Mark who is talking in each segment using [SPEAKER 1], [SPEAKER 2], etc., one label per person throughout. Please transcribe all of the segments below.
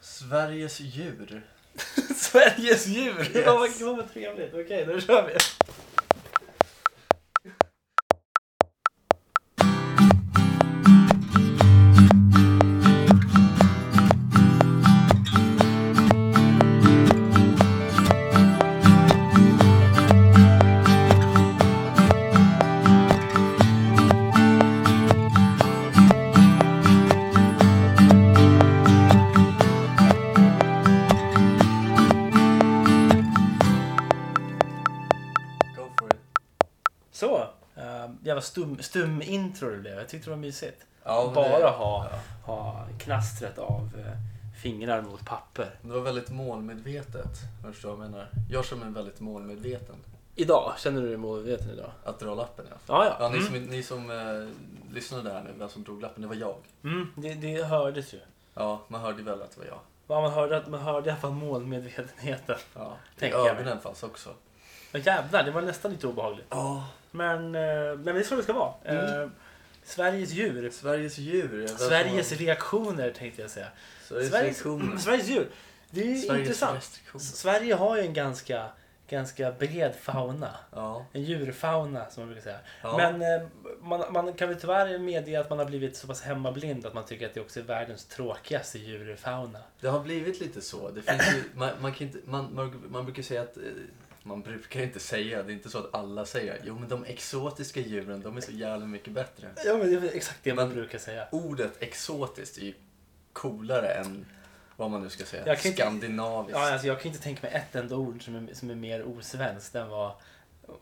[SPEAKER 1] Sveriges djur.
[SPEAKER 2] Sveriges djur!
[SPEAKER 1] Yes.
[SPEAKER 2] Ja, vad, vad vad trevligt. Okej, då kör vi.
[SPEAKER 1] Go for it.
[SPEAKER 2] Så. Uh, jävla stum, stum intro det blev. Jag tyckte det var mysigt.
[SPEAKER 1] Ja, men
[SPEAKER 2] Bara
[SPEAKER 1] det,
[SPEAKER 2] ha, ha knastret av eh, fingrar mot papper.
[SPEAKER 1] det var väldigt målmedvetet. Förstår du vad jag menar? Jag känner mig väldigt målmedveten.
[SPEAKER 2] Idag, känner du dig medveten idag?
[SPEAKER 1] Att dra lappen i alla fall.
[SPEAKER 2] Ja, ja.
[SPEAKER 1] Ja, ni som, ni som eh, lyssnade där nu, vem som drog lappen, det var jag.
[SPEAKER 2] Mm, det, det hördes ju.
[SPEAKER 1] Ja, man hörde väl att det var jag.
[SPEAKER 2] Ja, Man hörde, att- man hörde i alla fall målmedvetenheten.
[SPEAKER 1] Ja, i
[SPEAKER 2] Tänker jag mig.
[SPEAKER 1] ögonen fanns också.
[SPEAKER 2] Ja, jävlar, det var nästan lite obehagligt.
[SPEAKER 1] Ja.
[SPEAKER 2] Men, eh, men det är så det ska vara.
[SPEAKER 1] Mm.
[SPEAKER 2] Eh, Sveriges djur.
[SPEAKER 1] Sveriges djur. är väl
[SPEAKER 2] Sveriges
[SPEAKER 1] som-
[SPEAKER 2] reaktioner tänkte jag säga.
[SPEAKER 1] Sveriges
[SPEAKER 2] Sveriges-
[SPEAKER 1] reaktioner.
[SPEAKER 2] Sveriges djur. Det är ju
[SPEAKER 1] Sveriges
[SPEAKER 2] intressant.
[SPEAKER 1] restriktioner.
[SPEAKER 2] Sverige har ju en ganska, ganska bred fauna.
[SPEAKER 1] Ja.
[SPEAKER 2] En djurfauna som man brukar säga.
[SPEAKER 1] ja.
[SPEAKER 2] Men eh, man, man kan väl tyvärr medge att man har blivit så pass hemmablind att man tycker att det också är världens tråkigaste djurfauna.
[SPEAKER 1] Det har blivit lite så. Det finns ju, man, man, kan inte, man, man, man brukar säga att eh, man brukar inte säga, det är inte så att alla säger jo men de exotiska djuren de är så jävla mycket bättre.
[SPEAKER 2] Ja men det är väl exakt det man
[SPEAKER 1] Men-
[SPEAKER 2] brukar säga.
[SPEAKER 1] Ordet exotiskt är ju coolare än vad man nu ska säga,
[SPEAKER 2] Jag kan inte-
[SPEAKER 1] skandinaviskt.
[SPEAKER 2] Ja, alltså, jag kan inte tänka mig ett enda ord som är, som är mer osvenskt än vad,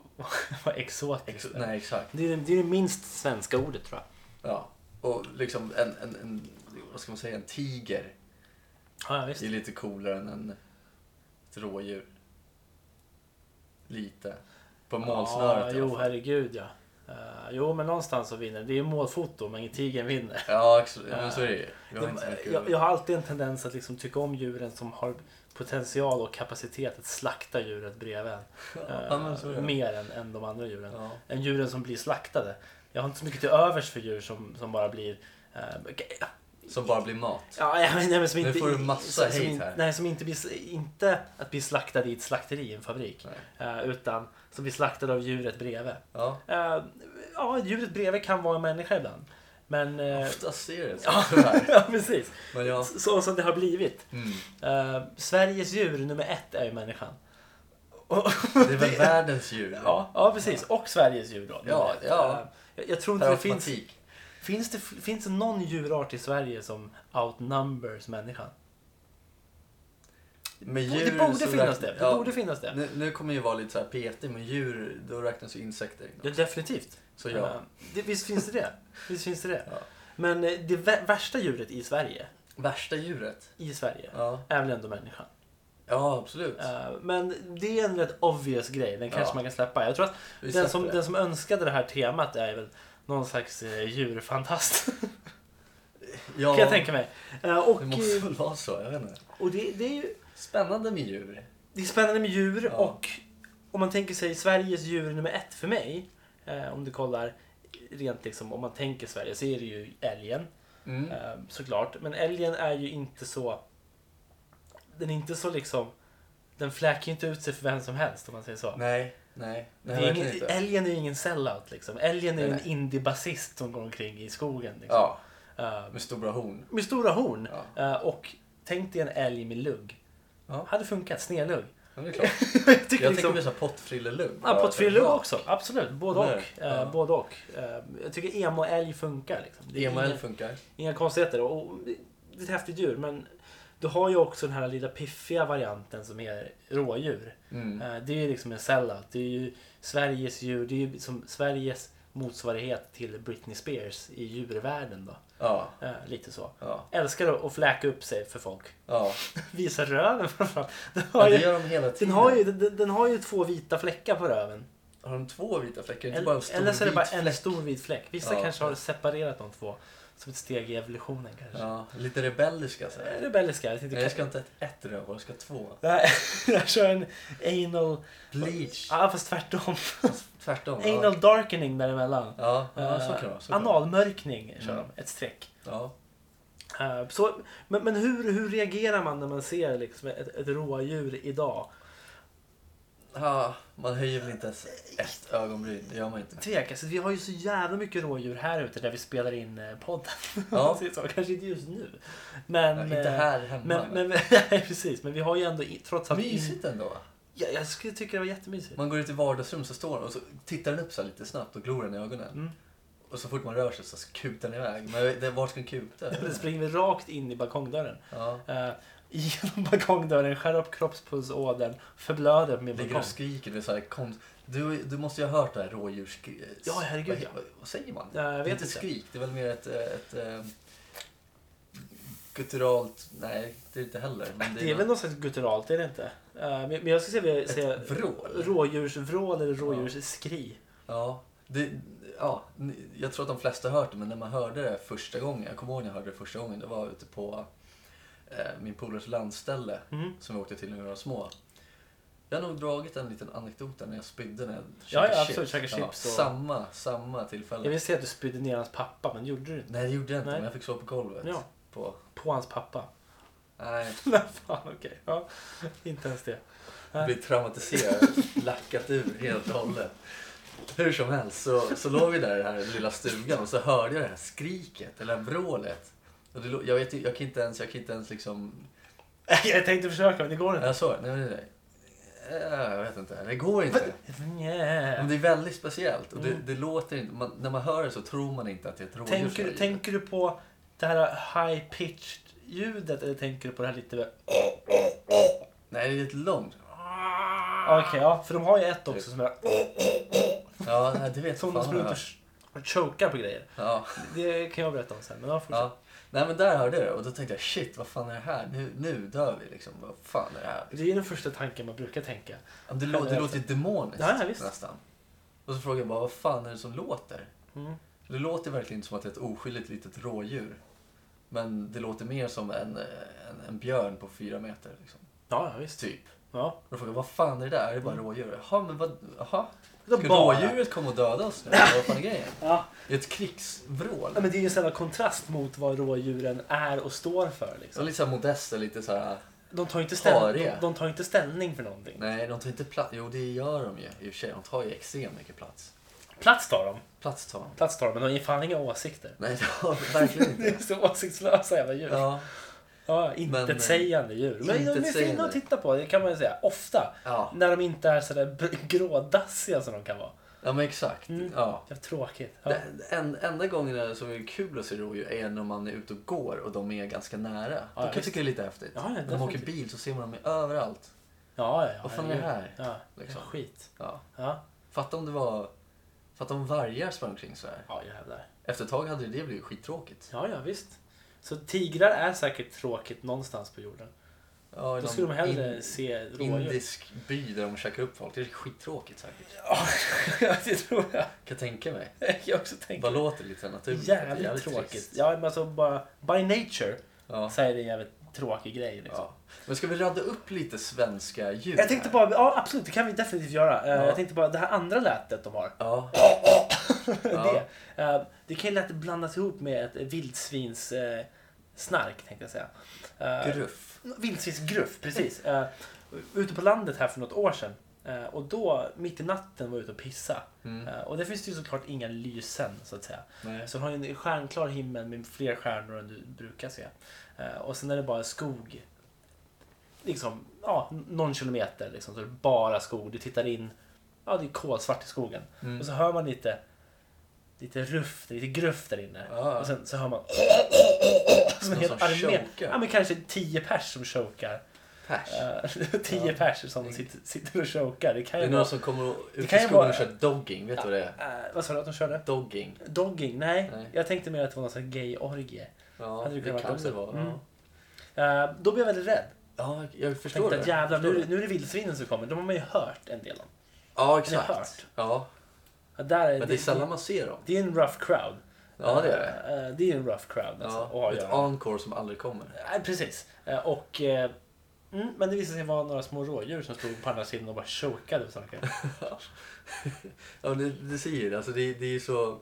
[SPEAKER 2] vad exotiskt
[SPEAKER 1] Exo-
[SPEAKER 2] är.
[SPEAKER 1] nej exakt.
[SPEAKER 2] Det är det- det är det minst svenska ordet tror jag.
[SPEAKER 1] Ja. Och liksom en, en, en, vad ska man säga, en tiger
[SPEAKER 2] Ja, ja, visst.
[SPEAKER 1] är lite coolare än en, ett rådjur. Lite. På
[SPEAKER 2] Ja,
[SPEAKER 1] målsnöret i alla
[SPEAKER 2] jo,
[SPEAKER 1] fall.
[SPEAKER 2] herregud ja. Eh, jo, men någonstans så vinner det. Det är ju målfoto, men tigern vinner.
[SPEAKER 1] Ja, exakt. Ja, men så är det ju. Vi har inte så mycket
[SPEAKER 2] Jag, jag har alltid en tendens att liksom tycka om djuren som har potential och kapacitet att slakta djuret bredvid en. Eh,
[SPEAKER 1] Ja, men så är det.
[SPEAKER 2] mer än, än de andra djuren.
[SPEAKER 1] Ja.
[SPEAKER 2] Än djuren som blir slaktade. Jag har inte så mycket till övers för djur som, som bara blir... eh,
[SPEAKER 1] Som bara blir mat.
[SPEAKER 2] Ja, jag menar, men som
[SPEAKER 1] Nu
[SPEAKER 2] inte,
[SPEAKER 1] får du massa
[SPEAKER 2] som,
[SPEAKER 1] hate
[SPEAKER 2] in-
[SPEAKER 1] här.
[SPEAKER 2] Nej, som inte blir, inte att bli slaktad i ett slakteri i en fabrik. Eh, utan som blir slaktad av djuret bredvid.
[SPEAKER 1] Ja.
[SPEAKER 2] Eh, ja, djuret bredvid kan vara en människa ibland. Men... eh,
[SPEAKER 1] Oftast är det så tyvärr.
[SPEAKER 2] ja, precis.
[SPEAKER 1] Men ja.
[SPEAKER 2] Så, så som det har blivit.
[SPEAKER 1] Mm.
[SPEAKER 2] Eh, Sveriges djur nummer ett är ju människan. Och,
[SPEAKER 1] Det är väl världens djur?
[SPEAKER 2] ja, ja, precis. Och Sveriges djur då. nummer
[SPEAKER 1] Ja,
[SPEAKER 2] ett.
[SPEAKER 1] ja.
[SPEAKER 2] Eh, jag, jag tror inte
[SPEAKER 1] Per
[SPEAKER 2] det finns...
[SPEAKER 1] automatik.
[SPEAKER 2] Finns det, finns det någon djurart i Sverige som outnumbers människan?
[SPEAKER 1] Med
[SPEAKER 2] Bo- det
[SPEAKER 1] så
[SPEAKER 2] borde finnas
[SPEAKER 1] räkn-
[SPEAKER 2] det. Det
[SPEAKER 1] ja.
[SPEAKER 2] borde finnas det.
[SPEAKER 1] Nu, nu kommer jag vara lite så här petig, men djur, då räknas ju insekter in.
[SPEAKER 2] Ja, definitivt.
[SPEAKER 1] Så ja.
[SPEAKER 2] Eh, Det, visst finns det det. Visst finns det det.
[SPEAKER 1] Ja.
[SPEAKER 2] Men eh, det vä- värsta djuret i Sverige,
[SPEAKER 1] Värsta djuret?
[SPEAKER 2] i Sverige,
[SPEAKER 1] Ja,
[SPEAKER 2] är väl ändå människan.
[SPEAKER 1] ja absolut.
[SPEAKER 2] Eh, Men det är en rätt obvious grej. Den kanske
[SPEAKER 1] Ja.
[SPEAKER 2] man kan släppa. Jag tror att
[SPEAKER 1] Vi
[SPEAKER 2] den som,
[SPEAKER 1] släpper
[SPEAKER 2] den
[SPEAKER 1] det.
[SPEAKER 2] som önskade det här temat är väl någon slags eh, djurfantast.
[SPEAKER 1] ja,
[SPEAKER 2] kan jag tänka mig. Eh, Och,
[SPEAKER 1] Det måste
[SPEAKER 2] eh,
[SPEAKER 1] väl vara så, jag vet inte.
[SPEAKER 2] och det, det är ju
[SPEAKER 1] Spännande med djur.
[SPEAKER 2] det är spännande med djur
[SPEAKER 1] Ja.
[SPEAKER 2] och om man tänker sig Sveriges djur nummer ett för mig. eh, Om du kollar rent liksom om man tänker Sverige så är det ju älgen.
[SPEAKER 1] Mm.
[SPEAKER 2] Eh, Såklart. Men älgen är ju inte så... Den är inte så liksom... Den fläker ju inte ut sig för vem som helst om man säger så.
[SPEAKER 1] Nej, nej.
[SPEAKER 2] Det
[SPEAKER 1] nej
[SPEAKER 2] är
[SPEAKER 1] verkligen
[SPEAKER 2] ingen,
[SPEAKER 1] inte.
[SPEAKER 2] älgen är ju ingen sellout liksom. Älgen är ju
[SPEAKER 1] Nej,
[SPEAKER 2] en indiebasist som går omkring i skogen. Liksom.
[SPEAKER 1] Ja,
[SPEAKER 2] Eh,
[SPEAKER 1] med stora horn.
[SPEAKER 2] med stora horn.
[SPEAKER 1] Ja.
[SPEAKER 2] Eh, och tänk dig en älg med lugg.
[SPEAKER 1] Ja.
[SPEAKER 2] Hade funkat, snedlugg.
[SPEAKER 1] Ja, det är klart.
[SPEAKER 2] jag tycker
[SPEAKER 1] Jag
[SPEAKER 2] liksom...
[SPEAKER 1] tänker mer såhär pottfrillelugg.
[SPEAKER 2] Ja, på ett fyllo
[SPEAKER 1] Ja.
[SPEAKER 2] också. Absolut, både och.
[SPEAKER 1] Eller?
[SPEAKER 2] Eh,
[SPEAKER 1] Ja.
[SPEAKER 2] Både och. Eh, jag tycker emo-älg funkar. Liksom. Det är
[SPEAKER 1] EML
[SPEAKER 2] inga,
[SPEAKER 1] funkar.
[SPEAKER 2] inga konstigheter. Och, och det det är ett häftigt djur, men du har ju också den här lilla piffiga varianten som är rådjur.
[SPEAKER 1] Mm.
[SPEAKER 2] Eh, det är ju liksom en sellout. Det är ju Sveriges djur. Det är ju som Sveriges motsvarighet till Britney Spears i djurvärlden då.
[SPEAKER 1] Ja,
[SPEAKER 2] Eh, lite så.
[SPEAKER 1] ja,
[SPEAKER 2] Älskar att fläka upp sig för folk.
[SPEAKER 1] ja.
[SPEAKER 2] Visa röven framförallt. Den
[SPEAKER 1] ja
[SPEAKER 2] har
[SPEAKER 1] det
[SPEAKER 2] ju,
[SPEAKER 1] gör de hela
[SPEAKER 2] den
[SPEAKER 1] tiden.
[SPEAKER 2] har ju, den, den har ju två vita fläckar på röven.
[SPEAKER 1] Har de två vita fläckar? Inte bara en
[SPEAKER 2] Eller
[SPEAKER 1] stor
[SPEAKER 2] eller så är det bara
[SPEAKER 1] vit
[SPEAKER 2] en
[SPEAKER 1] fläck?
[SPEAKER 2] stor vit fläck. Vissa
[SPEAKER 1] Ja.
[SPEAKER 2] kanske har separerat de två. Som ett steg i evolutionen kanske.
[SPEAKER 1] Ja, lite rebelliska så här.
[SPEAKER 2] Rebelliska. Jag, tänkte,
[SPEAKER 1] Nej, jag ska inte ha ett, ett rövhål, jag ska ha två.
[SPEAKER 2] Nej, jag kör en anal...
[SPEAKER 1] Bleach.
[SPEAKER 2] Ja, fast tvärtom.
[SPEAKER 1] Fast Tvärtom. ja.
[SPEAKER 2] Anal darkening däremellan.
[SPEAKER 1] Ja, ja, så
[SPEAKER 2] Eh,
[SPEAKER 1] kan det vara. så kan det vara.
[SPEAKER 2] Analmörkning kör
[SPEAKER 1] Mm.
[SPEAKER 2] de. Ett streck.
[SPEAKER 1] Ja.
[SPEAKER 2] Eh, så, men men hur, hur reagerar man när man ser liksom ett, ett rådjur idag?
[SPEAKER 1] Ja, man höjer väl inte ens ett ögonbryn, det gör man inte.
[SPEAKER 2] Tveka, så Alltså, vi har ju så jävla mycket rådjur här ute där vi spelar in eh, podden.
[SPEAKER 1] Ja.
[SPEAKER 2] Så, kanske inte just nu.
[SPEAKER 1] Ja,
[SPEAKER 2] Men,
[SPEAKER 1] inte
[SPEAKER 2] eh,
[SPEAKER 1] här hemma.
[SPEAKER 2] Men, men, nej, precis, men vi har ju ändå i- trots allt... in-
[SPEAKER 1] Mysigt ändå.
[SPEAKER 2] Ja, jag skulle tycka det var jättemysigt.
[SPEAKER 1] Man går ut i vardagsrum så står den och så tittar den upp så här lite snabbt och glor den i ögonen.
[SPEAKER 2] Mm.
[SPEAKER 1] Och så fort man rör sig så kutar den iväg. Men jag vet- det- vart ska den kuta?
[SPEAKER 2] Den springer vi rakt in i balkongdörren.
[SPEAKER 1] Ja.
[SPEAKER 2] Eh, genom balkongdörren, skär upp kroppspulsådern, förblöder på min
[SPEAKER 1] Ligger och
[SPEAKER 2] balkong.
[SPEAKER 1] skriker. Det är så här, konst... du, du måste ju ha hört det här rådjurs... eh,
[SPEAKER 2] Ja, herregud,
[SPEAKER 1] Vad,
[SPEAKER 2] ja.
[SPEAKER 1] vad, vad säger man?
[SPEAKER 2] Ja, Eh, jag
[SPEAKER 1] det är
[SPEAKER 2] vet
[SPEAKER 1] inte
[SPEAKER 2] inte.
[SPEAKER 1] skrik, det är väl mer ett... eh, ett, eh, gutturalt... Nej, det är det inte heller. Men det är,
[SPEAKER 2] Det är väl något slags gutturalt, är det inte? Eh, men, men jag skulle säga, säga
[SPEAKER 1] ett vrål.
[SPEAKER 2] rådjursvrål eller rådjursskri.
[SPEAKER 1] Ja, det, ja, ni- jag tror att de flesta har hört det, men när man hörde det första gången, jag kommer ihåg när jag hörde det första gången, det var ute på eh, min polares landställe
[SPEAKER 2] Mm.
[SPEAKER 1] som vi åkte till när vi var små. Jag har nog dragit en liten anekdot där när jag spydde när jag
[SPEAKER 2] Ja,
[SPEAKER 1] käkade
[SPEAKER 2] ja, absolut, käkade chips och-
[SPEAKER 1] Samma, samma tillfälle.
[SPEAKER 2] Jag vill säga att du spydde ner hans pappa, men gjorde du inte?
[SPEAKER 1] Nej, det gjorde jag inte,
[SPEAKER 2] Nej.
[SPEAKER 1] men jag fick sova på golvet.
[SPEAKER 2] Ja.
[SPEAKER 1] På...
[SPEAKER 2] På hans pappa.
[SPEAKER 1] Nej,
[SPEAKER 2] Nej, fan okej. Ja, inte ens det. Nej.
[SPEAKER 1] blivit traumatiserad, lackat ur helt och hållet. Hur som helst så, så låg vi där i den här lilla stugan och så hörde jag det här skriket, eller vrålet. Och det, lå- jag, vet, ju- jag kan inte ens, jag kan inte ens liksom...
[SPEAKER 2] jag tänkte försöka, men det går inte.
[SPEAKER 1] Jag sa nej, nej, nej. Eh, Jag vet inte, det går inte. Men
[SPEAKER 2] Yeah.
[SPEAKER 1] det är väldigt speciellt och det,
[SPEAKER 2] Mm.
[SPEAKER 1] det låter inte, man, när man hör det så tror man inte att det är ett rådjur
[SPEAKER 2] Tänker,
[SPEAKER 1] som
[SPEAKER 2] du-
[SPEAKER 1] har ljudit.
[SPEAKER 2] tänker du på det här high-pitched ljudet eller tänker du på det här lite...
[SPEAKER 1] Nej, det är ett långt.
[SPEAKER 2] Okej, ja. För de har ju ett också som är...
[SPEAKER 1] Ja, nej, det vet
[SPEAKER 2] Som de
[SPEAKER 1] fan
[SPEAKER 2] springer
[SPEAKER 1] jag.
[SPEAKER 2] ut och chokar på grejer.
[SPEAKER 1] Ja.
[SPEAKER 2] Det kan jag berätta om sen. Men ja, fortsätt.
[SPEAKER 1] Ja. Nej men där hörde jag det och då tänkte jag shit vad fan är det här? Nu, nu dör vi liksom. Vad fan är det här?
[SPEAKER 2] Det är den första tanken man brukar tänka.
[SPEAKER 1] Ja, men Det, lå- det
[SPEAKER 2] Generellt
[SPEAKER 1] låter ju demoniskt
[SPEAKER 2] Ja, ja, visst.
[SPEAKER 1] nästan. Och så frågade jag bara vad fan är det som låter?
[SPEAKER 2] Mm.
[SPEAKER 1] Det låter verkligen inte som att det är ett oskyldigt litet rådjur. Men det låter mer som en, eh, en, en björn på fyra meter. Liksom.
[SPEAKER 2] Ja, ja, visst.
[SPEAKER 1] Typ.
[SPEAKER 2] Ja.
[SPEAKER 1] Och då frågade jag vad fan är det där? Är det bara
[SPEAKER 2] Mm.
[SPEAKER 1] rådjur? Jaha, men vad... Jaha?
[SPEAKER 2] Det
[SPEAKER 1] Ska
[SPEAKER 2] bara-
[SPEAKER 1] rådjuret komma och döda oss nu? Vad fan är grejen?
[SPEAKER 2] Ja.
[SPEAKER 1] Det är ett krigsvrål.
[SPEAKER 2] Ja, men det är ju en sån här kontrast mot vad rådjuren är och står för.
[SPEAKER 1] Så
[SPEAKER 2] Liksom.
[SPEAKER 1] lite såhär modesta, lite såhär...
[SPEAKER 2] De, tar ju inte ställ-
[SPEAKER 1] Hariga.
[SPEAKER 2] de, de tar ju inte ställning för någonting.
[SPEAKER 1] Nej, de tar inte plats. Jo, det gör de ju i och för sig. De tar ju extremt mycket plats.
[SPEAKER 2] Plats tar de,
[SPEAKER 1] Plats tar de.
[SPEAKER 2] Plats tar de men de har ju fan inga åsikter.
[SPEAKER 1] Nej, det har de verkligen
[SPEAKER 2] Det är
[SPEAKER 1] inte.
[SPEAKER 2] så åsiktslösa jävla djur.
[SPEAKER 1] Ja,
[SPEAKER 2] Ja,
[SPEAKER 1] Men, eh,
[SPEAKER 2] intetsägande djur. Men de är fina
[SPEAKER 1] intetsägande.
[SPEAKER 2] att titta på, det kan man ju säga. Ofta.
[SPEAKER 1] ja.
[SPEAKER 2] När de inte är sådär br- grådassiga som de kan vara.
[SPEAKER 1] ja men exakt.
[SPEAKER 2] Mm.
[SPEAKER 1] Ja.
[SPEAKER 2] Det är tråkigt. Ja.
[SPEAKER 1] Den en, enda gången som är kul att se rådjur är när man är ute och går och de är ganska nära. Då kan jag
[SPEAKER 2] visst.
[SPEAKER 1] tycka det är lite häftigt.
[SPEAKER 2] Ja, ja,
[SPEAKER 1] när de
[SPEAKER 2] definitivt.
[SPEAKER 1] åker bil så ser man dem överallt.
[SPEAKER 2] Ja, ja, ja.
[SPEAKER 1] Vad fan är det här?
[SPEAKER 2] Ja,
[SPEAKER 1] Liksom.
[SPEAKER 2] ja, skit.
[SPEAKER 1] Ja.
[SPEAKER 2] Ja,
[SPEAKER 1] Fatta om det var... Fatta om vargar sprang omkring så här.
[SPEAKER 2] ja jävlar.
[SPEAKER 1] Efter ett tag hade det blivit skittråkigt.
[SPEAKER 2] Ja, ja, visst. Så tigrar är säkert tråkigt någonstans på jorden.
[SPEAKER 1] Ja, i
[SPEAKER 2] Då
[SPEAKER 1] någon
[SPEAKER 2] skulle de hellre
[SPEAKER 1] in-
[SPEAKER 2] se rådjur.
[SPEAKER 1] Indisk by där de käkar upp folk. Det är skittråkigt säkert.
[SPEAKER 2] Ja, det tror jag.
[SPEAKER 1] Kan jag tänka mig.
[SPEAKER 2] Jag också tänker.
[SPEAKER 1] Bara låter lite naturligt.
[SPEAKER 2] Jävligt, tråkigt.
[SPEAKER 1] trist.
[SPEAKER 2] Ja, men alltså bara by nature
[SPEAKER 1] Ja.
[SPEAKER 2] så är det en jävligt tråkig grej. Liksom.
[SPEAKER 1] Ja. Men ska vi radda upp lite svenska ljud?
[SPEAKER 2] Jag tänkte
[SPEAKER 1] här?
[SPEAKER 2] bara, ja absolut det kan vi definitivt göra. Eh,
[SPEAKER 1] Ja.
[SPEAKER 2] Jag tänkte bara det här andra lätet de har.
[SPEAKER 1] Ja.
[SPEAKER 2] Det, eh, det kan ju lätt blandas ihop med ett vildsvins eh, snark tänkte jag säga. Eh,
[SPEAKER 1] Gruff.
[SPEAKER 2] Vildsvinsgruff, precis. Eh, ute på landet här för något år sedan. Eh, och då, mitt i natten, var jag ute och pissa.
[SPEAKER 1] Mm.
[SPEAKER 2] Eh, och det finns det ju såklart inga lysen så att säga.
[SPEAKER 1] Nej.
[SPEAKER 2] Så den har ju en stjärnklar himmel med fler stjärnor än du brukar se. Eh, och sen är det bara skog. Liksom, ja, någon kilometer liksom, så är det bara skog. Du tittar in, ja det är kolsvart i skogen.
[SPEAKER 1] Mm.
[SPEAKER 2] Och så hör man lite, lite ruff, lite gruff där inne.
[SPEAKER 1] Ja.
[SPEAKER 2] Och sen så hör man som
[SPEAKER 1] Någon
[SPEAKER 2] en hel
[SPEAKER 1] Ah. som
[SPEAKER 2] armé.
[SPEAKER 1] chokar.
[SPEAKER 2] Ja men kanske tio pers som chokar.
[SPEAKER 1] Pers.
[SPEAKER 2] Eh, tio
[SPEAKER 1] Ja.
[SPEAKER 2] pers som sitter, sitter och chokar. Det
[SPEAKER 1] Det
[SPEAKER 2] kan ju
[SPEAKER 1] är
[SPEAKER 2] vara...
[SPEAKER 1] någon som kommer ut
[SPEAKER 2] kan
[SPEAKER 1] i
[SPEAKER 2] ju
[SPEAKER 1] skogen
[SPEAKER 2] vara-
[SPEAKER 1] och kör dogging. Vet du vad det är?
[SPEAKER 2] Eh, vad sa du att de körde?
[SPEAKER 1] Dogging.
[SPEAKER 2] Dogging? Nej.
[SPEAKER 1] Nej.
[SPEAKER 2] Jag tänkte mer att det var någon sån här gay-orgie.
[SPEAKER 1] Ja,
[SPEAKER 2] Hade det
[SPEAKER 1] det,
[SPEAKER 2] kunnat
[SPEAKER 1] kan
[SPEAKER 2] vara
[SPEAKER 1] det
[SPEAKER 2] också.
[SPEAKER 1] vara.
[SPEAKER 2] Mm.
[SPEAKER 1] Ja.
[SPEAKER 2] Eh, då blev jag väldigt rädd.
[SPEAKER 1] ja, jag förstår
[SPEAKER 2] Tänkte
[SPEAKER 1] det.
[SPEAKER 2] att jävlar,
[SPEAKER 1] Förstår
[SPEAKER 2] nu, är
[SPEAKER 1] det.
[SPEAKER 2] det- nu är det vildsvinen som kommer. De har man ju hört en del om.
[SPEAKER 1] Ja,
[SPEAKER 2] Ni har hört.
[SPEAKER 1] exakt. Ja.
[SPEAKER 2] Ja, där är,
[SPEAKER 1] Men det är sällan man ser dem.
[SPEAKER 2] det är en rough crowd.
[SPEAKER 1] Ja, det är det.
[SPEAKER 2] Eh, eh, det är en rough crowd alltså, att ha
[SPEAKER 1] Ja.
[SPEAKER 2] att
[SPEAKER 1] Ett
[SPEAKER 2] göra med.
[SPEAKER 1] encore som aldrig kommer.
[SPEAKER 2] Nej, precis. Eh, och, eh, mm, men det visade sig vara några små rådjur som stod på andra sidan och bara chokade på saker.
[SPEAKER 1] Ja, men det, det säger det. Alltså, det, det är ju så...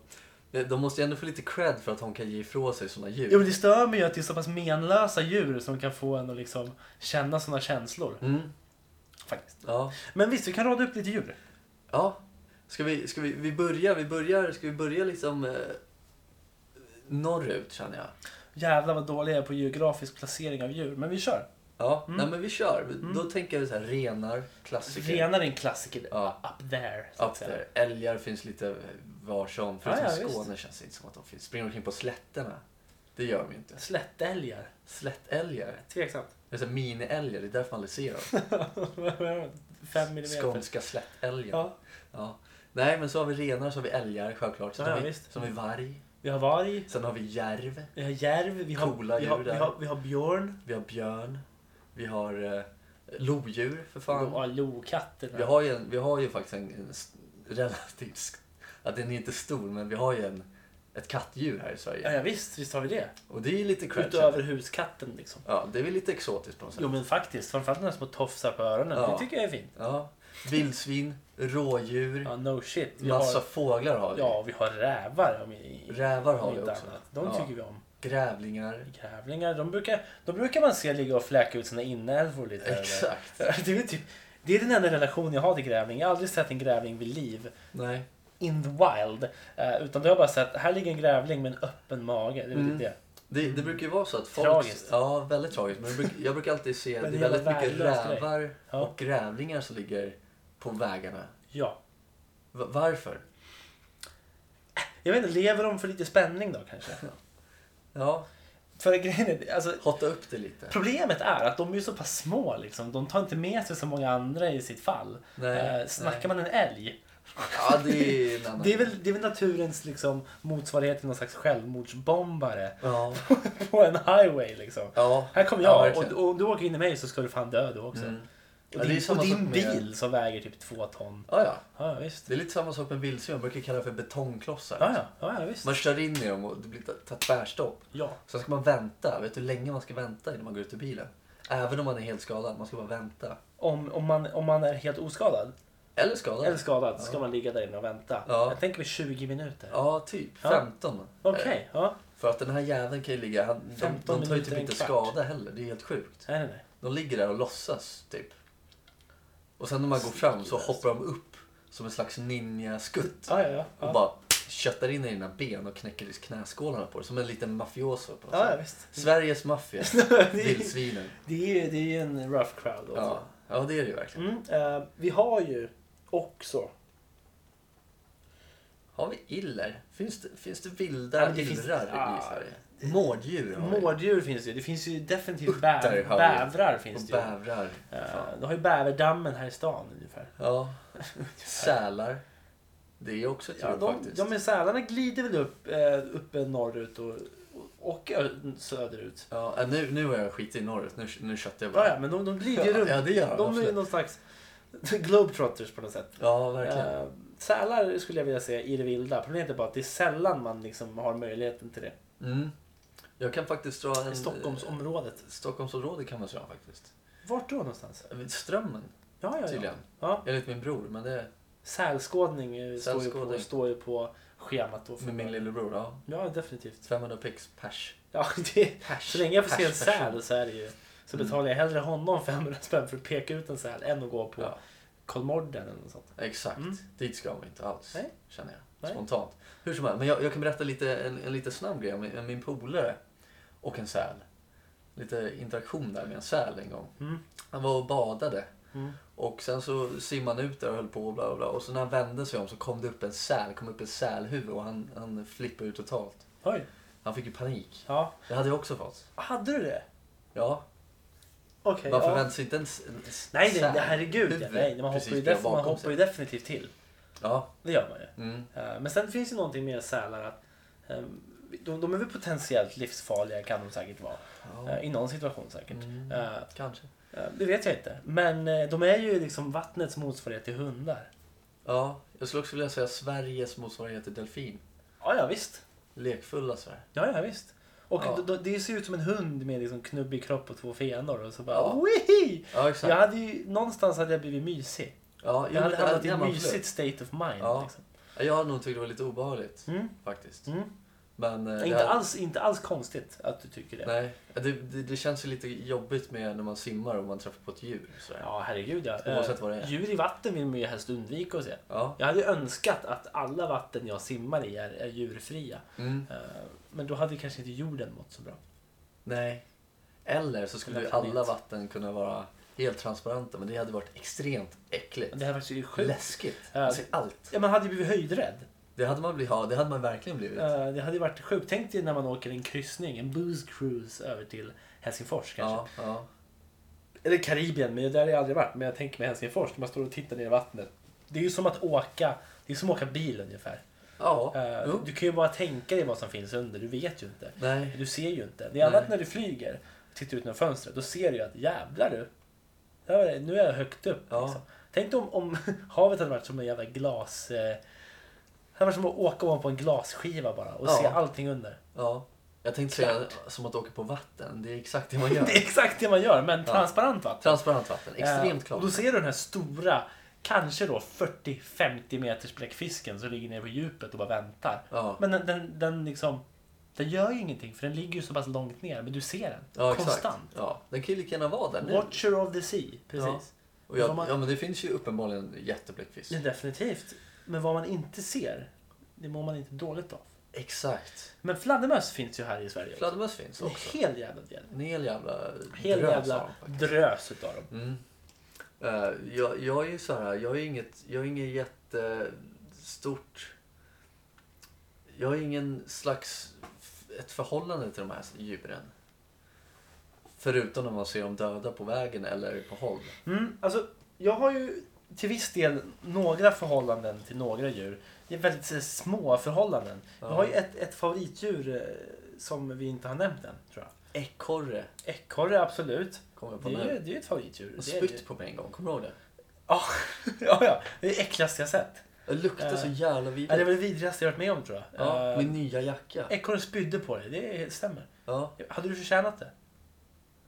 [SPEAKER 1] Det- De måste ju ändå få lite cred för att hon kan ge ifrån sig sådana ljud.
[SPEAKER 2] Jo, men det stör mig ju att det är så pass menlösa djur som kan få en att liksom känna sådana känslor.
[SPEAKER 1] Mm,
[SPEAKER 2] Faktiskt.
[SPEAKER 1] ja.
[SPEAKER 2] Men visst, vi kan rada upp lite djur.
[SPEAKER 1] ja. Ska vi, ska vi, vi börja, vi börjar, ska vi börja liksom eh, norrut känner jag.
[SPEAKER 2] Jävlar vad dålig jag är på geografisk placering av djur, men vi kör.
[SPEAKER 1] Ja,
[SPEAKER 2] Mm.
[SPEAKER 1] nej men vi kör. Vi- Då tänker vi så här renar, klassiker.
[SPEAKER 2] Renar är en klassiker.
[SPEAKER 1] Ja.
[SPEAKER 2] Up there. så att
[SPEAKER 1] Up
[SPEAKER 2] säga.
[SPEAKER 1] there. Älgar finns lite var som. Förutom
[SPEAKER 2] Ja, ja,
[SPEAKER 1] Skåne känns det inte som att de finns. Springer omkring på slätterna. Det gör de ju inte.
[SPEAKER 2] Slättälgar.
[SPEAKER 1] Slättälgar.
[SPEAKER 2] Tveksamt.
[SPEAKER 1] Det är så här miniälgar, det är därför man aldrig ser dem.
[SPEAKER 2] Fem millimeter.
[SPEAKER 1] Skånska slättälgar. Ja.
[SPEAKER 2] Ja.
[SPEAKER 1] Nej, men så har vi renar, så har vi älgar självklart. Sen
[SPEAKER 2] Ja,
[SPEAKER 1] har vi,
[SPEAKER 2] visst.
[SPEAKER 1] sen har vi varg.
[SPEAKER 2] Vi har varg.
[SPEAKER 1] Sen har vi järv.
[SPEAKER 2] Vi har järv. Vi har,
[SPEAKER 1] Coola
[SPEAKER 2] vi har,
[SPEAKER 1] djur
[SPEAKER 2] vi
[SPEAKER 1] där.
[SPEAKER 2] har, vi har björn.
[SPEAKER 1] Vi har björn. Vi har eh, lodjur, för fan.
[SPEAKER 2] Ja, lokatter.
[SPEAKER 1] Vi har ju, en, vi har ju faktiskt en, en s- relativt... sk- Att den är inte stor, men vi har ju en, ett kattdjur här i
[SPEAKER 2] Ja,
[SPEAKER 1] Sverige.
[SPEAKER 2] ja, visst, visst har vi det.
[SPEAKER 1] Och det är ju lite cred.
[SPEAKER 2] Utöver huskatten liksom.
[SPEAKER 1] Ja, det är väl lite exotiskt på något sätt.
[SPEAKER 2] Jo men faktiskt, framförallt några små tofsar på öronen.
[SPEAKER 1] Ja.
[SPEAKER 2] Det tycker jag är fint.
[SPEAKER 1] Ja. Vildsvin, rådjur,
[SPEAKER 2] Ja, no shit. Vi
[SPEAKER 1] massa
[SPEAKER 2] har,
[SPEAKER 1] fåglar har vi.
[SPEAKER 2] ja, vi har rävar. Om i, i,
[SPEAKER 1] Rävar har
[SPEAKER 2] om
[SPEAKER 1] vi
[SPEAKER 2] inte
[SPEAKER 1] också.
[SPEAKER 2] annat. De
[SPEAKER 1] Ja.
[SPEAKER 2] tycker vi om.
[SPEAKER 1] Grävlingar.
[SPEAKER 2] Grävlingar, de brukar, de brukar man se ligga och fläka ut sina inälvor lite. eller-
[SPEAKER 1] Exakt.
[SPEAKER 2] Det är, väl typ, det är den enda relation jag har till grävling. Jag har aldrig sett en grävling vid liv.
[SPEAKER 1] Nej.
[SPEAKER 2] In the wild. Eh, utan då har jag bara sett, här ligger en grävling med en öppen mage. Det är väl
[SPEAKER 1] Mm.
[SPEAKER 2] det.
[SPEAKER 1] Det, det brukar ju vara så att folk...
[SPEAKER 2] Tragiskt.
[SPEAKER 1] Ja, väldigt tragiskt. Men jag bruk- jag brukar alltid se, det
[SPEAKER 2] Men
[SPEAKER 1] är
[SPEAKER 2] det är en
[SPEAKER 1] väldigt mycket
[SPEAKER 2] värdelös grej.
[SPEAKER 1] rävar
[SPEAKER 2] Ja.
[SPEAKER 1] och grävlingar som ligger på vägarna.
[SPEAKER 2] Ja.
[SPEAKER 1] Va- varför?
[SPEAKER 2] Jag vet inte, lever de för lite spänning då kanske?
[SPEAKER 1] Ja,
[SPEAKER 2] För grejen är, alltså,
[SPEAKER 1] hotta upp det lite.
[SPEAKER 2] Problemet är att de är ju så pass små liksom. De tar inte med sig så många andra i sitt fall.
[SPEAKER 1] Nej,
[SPEAKER 2] eh, snackar
[SPEAKER 1] nej.
[SPEAKER 2] man en älg?
[SPEAKER 1] Ja, det är en annan...
[SPEAKER 2] Det är väl, det är väl naturens liksom, motsvarighet till någon slags självmordsbombare
[SPEAKER 1] Ja.
[SPEAKER 2] på en highway liksom.
[SPEAKER 1] ja.
[SPEAKER 2] Här kommer
[SPEAKER 1] Ja,
[SPEAKER 2] jag
[SPEAKER 1] verkligen.
[SPEAKER 2] och, och du åker in i mig så ska du fan dö du också.
[SPEAKER 1] Mm. Ja,
[SPEAKER 2] Och
[SPEAKER 1] det är
[SPEAKER 2] din,
[SPEAKER 1] samma
[SPEAKER 2] och din
[SPEAKER 1] sak med-
[SPEAKER 2] bil som väger typ två ton.
[SPEAKER 1] Ja, ja.
[SPEAKER 2] Ja, ja, visst.
[SPEAKER 1] Det är lite samma sak med vildsvin. Man brukar kalla det för betongklossar.
[SPEAKER 2] Ja, ja, ja, ja, visst.
[SPEAKER 1] Man kör in i dem och det blir ett tvärstopp.
[SPEAKER 2] Ja.
[SPEAKER 1] Sen ska man vänta. Vet du hur länge man ska vänta innan man går ut ur bilen? Även om man är helt skadad. Man ska bara vänta.
[SPEAKER 2] Om, om, man, om man är helt oskadad
[SPEAKER 1] Eller skadad.
[SPEAKER 2] eller skadad så ska man ligga där inne och vänta.
[SPEAKER 1] Ja.
[SPEAKER 2] Jag tänker mig 20 minuter.
[SPEAKER 1] Ja, typ.
[SPEAKER 2] Ja.
[SPEAKER 1] 15.
[SPEAKER 2] Okej,
[SPEAKER 1] Eh,
[SPEAKER 2] ja.
[SPEAKER 1] För att den här jäveln kan ju ligga... Han, de,
[SPEAKER 2] 15
[SPEAKER 1] de tar ju
[SPEAKER 2] minuter,
[SPEAKER 1] typ
[SPEAKER 2] en
[SPEAKER 1] inte
[SPEAKER 2] kvart.
[SPEAKER 1] skada heller. Det är helt sjukt.
[SPEAKER 2] Nej, nej, nej.
[SPEAKER 1] De ligger där och låtsas, typ. Och sen när man går fram så hoppar de upp som en slags ninja-skutt.
[SPEAKER 2] Ja, ja, ja.
[SPEAKER 1] Och
[SPEAKER 2] ja.
[SPEAKER 1] bara köttar in i dina ben och knäcker i knäskålarna på dig. Som en liten mafioso. På något
[SPEAKER 2] Ja,
[SPEAKER 1] sätt.
[SPEAKER 2] ja, visst.
[SPEAKER 1] Sveriges maffia.
[SPEAKER 2] det,
[SPEAKER 1] Vildsvinen.
[SPEAKER 2] är ju, det är ju en rough crowd. Också.
[SPEAKER 1] Ja. ja, det är det ju verkligen.
[SPEAKER 2] Mm, eh, vi har ju också...
[SPEAKER 1] Har vi iller? Finns det, finns det
[SPEAKER 2] Ja,
[SPEAKER 1] vilda
[SPEAKER 2] men det finns-
[SPEAKER 1] illrar i
[SPEAKER 2] ah,
[SPEAKER 1] Sverige? Mårddjur har vi.
[SPEAKER 2] Mårddjur finns ju. Det finns ju definitivt bäv,
[SPEAKER 1] Utter har vi.
[SPEAKER 2] bävrar.
[SPEAKER 1] Och
[SPEAKER 2] Finns det ju.
[SPEAKER 1] bävrar.
[SPEAKER 2] Eh, du har ju bäverdammen här i stan ungefär.
[SPEAKER 1] Ja. Sälar. Det är också ett djur
[SPEAKER 2] Ja, de,
[SPEAKER 1] faktiskt.
[SPEAKER 2] ja, men sälarna glider väl upp, eh, uppe norrut och, och ö- söderut.
[SPEAKER 1] Ja, äh, nu, nu har jag skit i norrut. Nu, nu köttar jag
[SPEAKER 2] Ja,
[SPEAKER 1] bara.
[SPEAKER 2] ja, men de, de glider ju runt.
[SPEAKER 1] Ja, det gör de.
[SPEAKER 2] de är ju
[SPEAKER 1] absolut.
[SPEAKER 2] någon slags globetrotters på något sätt.
[SPEAKER 1] Ja, verkligen.
[SPEAKER 2] Eh, sälar skulle jag vilja säga i det vilda. Problemet är bara att det är sällan man liksom har möjligheten till det.
[SPEAKER 1] Mm. Jag kan faktiskt dra en...
[SPEAKER 2] I Stockholmsområdet.
[SPEAKER 1] Stockholmsområdet kan man dra faktiskt.
[SPEAKER 2] eh, Vart då någonstans?
[SPEAKER 1] Vid Strömmen,
[SPEAKER 2] Ja, ja, ja.
[SPEAKER 1] tydligen.
[SPEAKER 2] ja.
[SPEAKER 1] Enligt min bror, men det...
[SPEAKER 2] Sälskådning, eh, står, ju på,
[SPEAKER 1] Sälskådning.
[SPEAKER 2] står ju på schemat. Då för
[SPEAKER 1] Med min lillebror, ja.
[SPEAKER 2] Ja, definitivt.
[SPEAKER 1] 500 pix pers.
[SPEAKER 2] Ja, det,
[SPEAKER 1] Pers.
[SPEAKER 2] så länge jag får se en
[SPEAKER 1] Pers person.
[SPEAKER 2] säl så är det ju så
[SPEAKER 1] Mm.
[SPEAKER 2] betalar jag hellre honom 500 spänn för att peka ut en säl än att gå på
[SPEAKER 1] Ja.
[SPEAKER 2] Kolmården eller något sånt.
[SPEAKER 1] Exakt.
[SPEAKER 2] Mm.
[SPEAKER 1] Dit ska man inte alls,
[SPEAKER 2] Nej.
[SPEAKER 1] känner jag.
[SPEAKER 2] Nej.
[SPEAKER 1] Spontant. Hur som helst, men jag, jag kan berätta lite, en, en lite snabb grej om min, min polare och en säl. Lite interaktion där med en säl en gång.
[SPEAKER 2] Mm.
[SPEAKER 1] Han var och badade.
[SPEAKER 2] Mm.
[SPEAKER 1] Och sen så simmade han ut där och höll på och bla bla bla. Och så när han vände sig om så kom det upp en säl, kom upp ett sälhuvud och han, han flippade ut totalt.
[SPEAKER 2] Oj.
[SPEAKER 1] Han fick ju panik.
[SPEAKER 2] Ja.
[SPEAKER 1] Det hade jag också fått.
[SPEAKER 2] Hade du det?
[SPEAKER 1] Ja,
[SPEAKER 2] Okej.
[SPEAKER 1] man
[SPEAKER 2] ja.
[SPEAKER 1] förväntar sig inte en, s- en s-
[SPEAKER 2] Nej, nej,
[SPEAKER 1] säl-
[SPEAKER 2] nej, herregud. Ja,
[SPEAKER 1] huvud
[SPEAKER 2] nej, man hoppar,
[SPEAKER 1] precis
[SPEAKER 2] ju,
[SPEAKER 1] bredvid
[SPEAKER 2] def- man
[SPEAKER 1] bakom
[SPEAKER 2] hoppar
[SPEAKER 1] sig.
[SPEAKER 2] ju definitivt till.
[SPEAKER 1] Ja,
[SPEAKER 2] Det gör man ju.
[SPEAKER 1] mm,
[SPEAKER 2] Eh, Men sen finns ju någonting med sälar att eh, de, de är väl potentiellt livsfarliga kan de säkert vara.
[SPEAKER 1] ja
[SPEAKER 2] Eh, I någon situation säkert.
[SPEAKER 1] Mm.
[SPEAKER 2] Eh,
[SPEAKER 1] kanske.
[SPEAKER 2] eh, Det vet jag inte. Men eh, de är ju liksom vattnets motsvarighet till hundar.
[SPEAKER 1] Ja, jag skulle också vilja säga Sveriges motsvarighet till delfin.
[SPEAKER 2] Ja, ja visst.
[SPEAKER 1] Lekfulla Sverige.
[SPEAKER 2] Ja, ja visst. Och
[SPEAKER 1] Ja.
[SPEAKER 2] d- d- det ser ut som en hund med liksom knubbig kropp och två fenor och så bara
[SPEAKER 1] Ja.
[SPEAKER 2] "Wihi!"
[SPEAKER 1] Ja,
[SPEAKER 2] jag
[SPEAKER 1] exakt.
[SPEAKER 2] hade ju, Någonstans hade jag blivit mysig.
[SPEAKER 1] Ja, jo,
[SPEAKER 2] Jag hade
[SPEAKER 1] det-
[SPEAKER 2] hamnat i
[SPEAKER 1] det är
[SPEAKER 2] ett
[SPEAKER 1] man
[SPEAKER 2] mysigt
[SPEAKER 1] absolut.
[SPEAKER 2] state of mind.
[SPEAKER 1] Ja.
[SPEAKER 2] Liksom.
[SPEAKER 1] Jag hade nog tyckt det var lite obehagligt
[SPEAKER 2] Mm.
[SPEAKER 1] faktiskt.
[SPEAKER 2] Mm.
[SPEAKER 1] Men, eh, det
[SPEAKER 2] Inte,
[SPEAKER 1] hade-
[SPEAKER 2] alls, inte alls konstigt att du tycker det.
[SPEAKER 1] Nej, det, det, det känns ju lite jobbigt med när man simmar och man träffar på ett djur. Sådär.
[SPEAKER 2] Ja, herregud ja.
[SPEAKER 1] Oavsett
[SPEAKER 2] Eh,
[SPEAKER 1] vad det är.
[SPEAKER 2] Djur i vatten vill man ju helst undvika att se.
[SPEAKER 1] Ja.
[SPEAKER 2] Jag hade önskat att alla vatten jag simmar i är, är djurfria.
[SPEAKER 1] Mm.
[SPEAKER 2] Eh, Men då hade kanske inte jorden mått så bra.
[SPEAKER 1] Nej. Eller så skulle
[SPEAKER 2] Eller
[SPEAKER 1] ju alla
[SPEAKER 2] planet.
[SPEAKER 1] vatten kunna vara helt transparenta men det hade varit extremt äckligt.
[SPEAKER 2] Det här var ju sjukt.
[SPEAKER 1] Läskigt.
[SPEAKER 2] Ja.
[SPEAKER 1] Man ser allt.
[SPEAKER 2] Ja, man hade ju blivit höjdrädd.
[SPEAKER 1] Det hade man, blivit, ja, det hade man verkligen blivit.
[SPEAKER 2] Eh, Det hade ju varit sjukt. Tänk dig när man åker en kryssning, en booze cruise över till Helsingfors kanske.
[SPEAKER 1] Ja, ja.
[SPEAKER 2] Eller Karibien, men det där har jag aldrig varit. Men jag tänker mig Helsingfors, när man står och tittar ner i vattnet. Det är ju som att åka, det är som att åka bil ungefär.
[SPEAKER 1] ja.
[SPEAKER 2] Eh,
[SPEAKER 1] jo.
[SPEAKER 2] Du kan ju bara tänka dig vad som finns under, du vet ju inte.
[SPEAKER 1] Nej.
[SPEAKER 2] Du ser ju inte. Det är annat
[SPEAKER 1] Nej.
[SPEAKER 2] när du flyger. Tittar ut genom fönstret, då ser du ju att jävlar du. där är det- Nu är jag högt upp.
[SPEAKER 1] Ja.
[SPEAKER 2] Liksom. Tänk om, om havet hade varit som en jävla glas... Eh, det hade varit som att åka ovanpå en glasskiva bara och
[SPEAKER 1] Ja.
[SPEAKER 2] se allting under.
[SPEAKER 1] Ja. Jag tänkte säga som att åka på vatten. Det är exakt det man gör.
[SPEAKER 2] Det är exakt det man gör, men
[SPEAKER 1] Ja.
[SPEAKER 2] transparent vatten.
[SPEAKER 1] Transparent vatten. Extremt
[SPEAKER 2] Eh,
[SPEAKER 1] klart.
[SPEAKER 2] Och då ser du den här stora, kanske då 40-50 meters bläckfisken som ligger nere på djupet och bara väntar.
[SPEAKER 1] Ja.
[SPEAKER 2] Men den, den, den liksom... Den gör ju ingenting för den ligger ju så pass långt ner, men du ser den.
[SPEAKER 1] Ja, exakt.
[SPEAKER 2] Konstant.
[SPEAKER 1] Ja. Den kan ju lika gärna vara där nu.
[SPEAKER 2] Watcher of the Sea, precis.
[SPEAKER 1] Och jag,
[SPEAKER 2] Vad man-
[SPEAKER 1] ja, men det finns ju uppenbarligen jättebläckfisk.
[SPEAKER 2] Ja. Definitivt. Men vad man inte ser, det mår man inte dåligt av.
[SPEAKER 1] Exakt.
[SPEAKER 2] Men fladdermöss finns ju här i Sverige. också.
[SPEAKER 1] Fladdermöss finns
[SPEAKER 2] En
[SPEAKER 1] också.
[SPEAKER 2] hel jävla del.
[SPEAKER 1] En hel jävla
[SPEAKER 2] Hel
[SPEAKER 1] drös av
[SPEAKER 2] jävla
[SPEAKER 1] dem faktiskt.
[SPEAKER 2] drös utav dem.
[SPEAKER 1] Mm. Eh, jag, jag är ju så här, jag är inget, jag är inget jättestort... Jag har ingen slags, ett förhållande till de här djuren. Förutom när man ser dem döda på vägen eller på håll.
[SPEAKER 2] Mm, alltså, jag har ju till viss del några förhållanden till några djur. Det är väldigt eh, små förhållanden. Jag
[SPEAKER 1] Ja.
[SPEAKER 2] har ju ett, ett favoritdjur eh, som vi inte har nämnt än, tror jag.
[SPEAKER 1] Ekorre
[SPEAKER 2] Ekorre, absolut.
[SPEAKER 1] kommer jag på
[SPEAKER 2] Det är ju
[SPEAKER 1] nu.
[SPEAKER 2] det är ju ett favoritdjur.
[SPEAKER 1] Och
[SPEAKER 2] Det är det ju.
[SPEAKER 1] spytt på mig en gång, kommer du ihåg det?
[SPEAKER 2] Ja, ja, ja. Det är det äckligaste jag sett.
[SPEAKER 1] Det luktar så
[SPEAKER 2] Eh,
[SPEAKER 1] jävla
[SPEAKER 2] Ja, det
[SPEAKER 1] vidrigt.
[SPEAKER 2] var det vidrigaste jag varit med om, tror jag.
[SPEAKER 1] Ja,
[SPEAKER 2] Eh,
[SPEAKER 1] min nya jacka.
[SPEAKER 2] Ekorren spydde på dig, det stämmer.
[SPEAKER 1] Ja.
[SPEAKER 2] Hade du förtjänat det?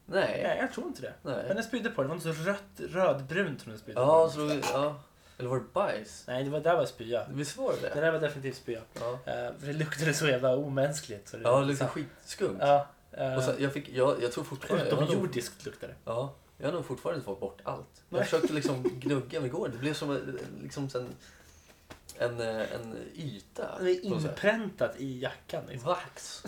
[SPEAKER 1] Nej.
[SPEAKER 2] Nej, jag tror inte det.
[SPEAKER 1] Nej.
[SPEAKER 2] Men eh, den spydde på dig. Det var något så rött, rödbrunt som den spydde
[SPEAKER 1] Ja,
[SPEAKER 2] på.
[SPEAKER 1] så då, ja. Eller var det bajs?
[SPEAKER 2] Nej, det var, där var spya.
[SPEAKER 1] Visst var det
[SPEAKER 2] Det
[SPEAKER 1] det?
[SPEAKER 2] där var definitivt spya.
[SPEAKER 1] Ja,
[SPEAKER 2] Eh, för det luktade så jävla omänskligt. Så det
[SPEAKER 1] ja det luktade skitskumt.
[SPEAKER 2] Ja, eh,
[SPEAKER 1] Och sen, jag, fick, jag, jag tror fortfarande... jag har nog-
[SPEAKER 2] utomjordiskt luktade det.
[SPEAKER 1] Ja, jag har nog fortfarande inte fått bort allt.
[SPEAKER 2] Nej.
[SPEAKER 1] Jag försökte liksom gnugga mig igår. Det blev som en, liksom en, en, eh, en yta.
[SPEAKER 2] Det är
[SPEAKER 1] på så här.
[SPEAKER 2] inpräntat i jackan. Liksom.
[SPEAKER 1] Vax.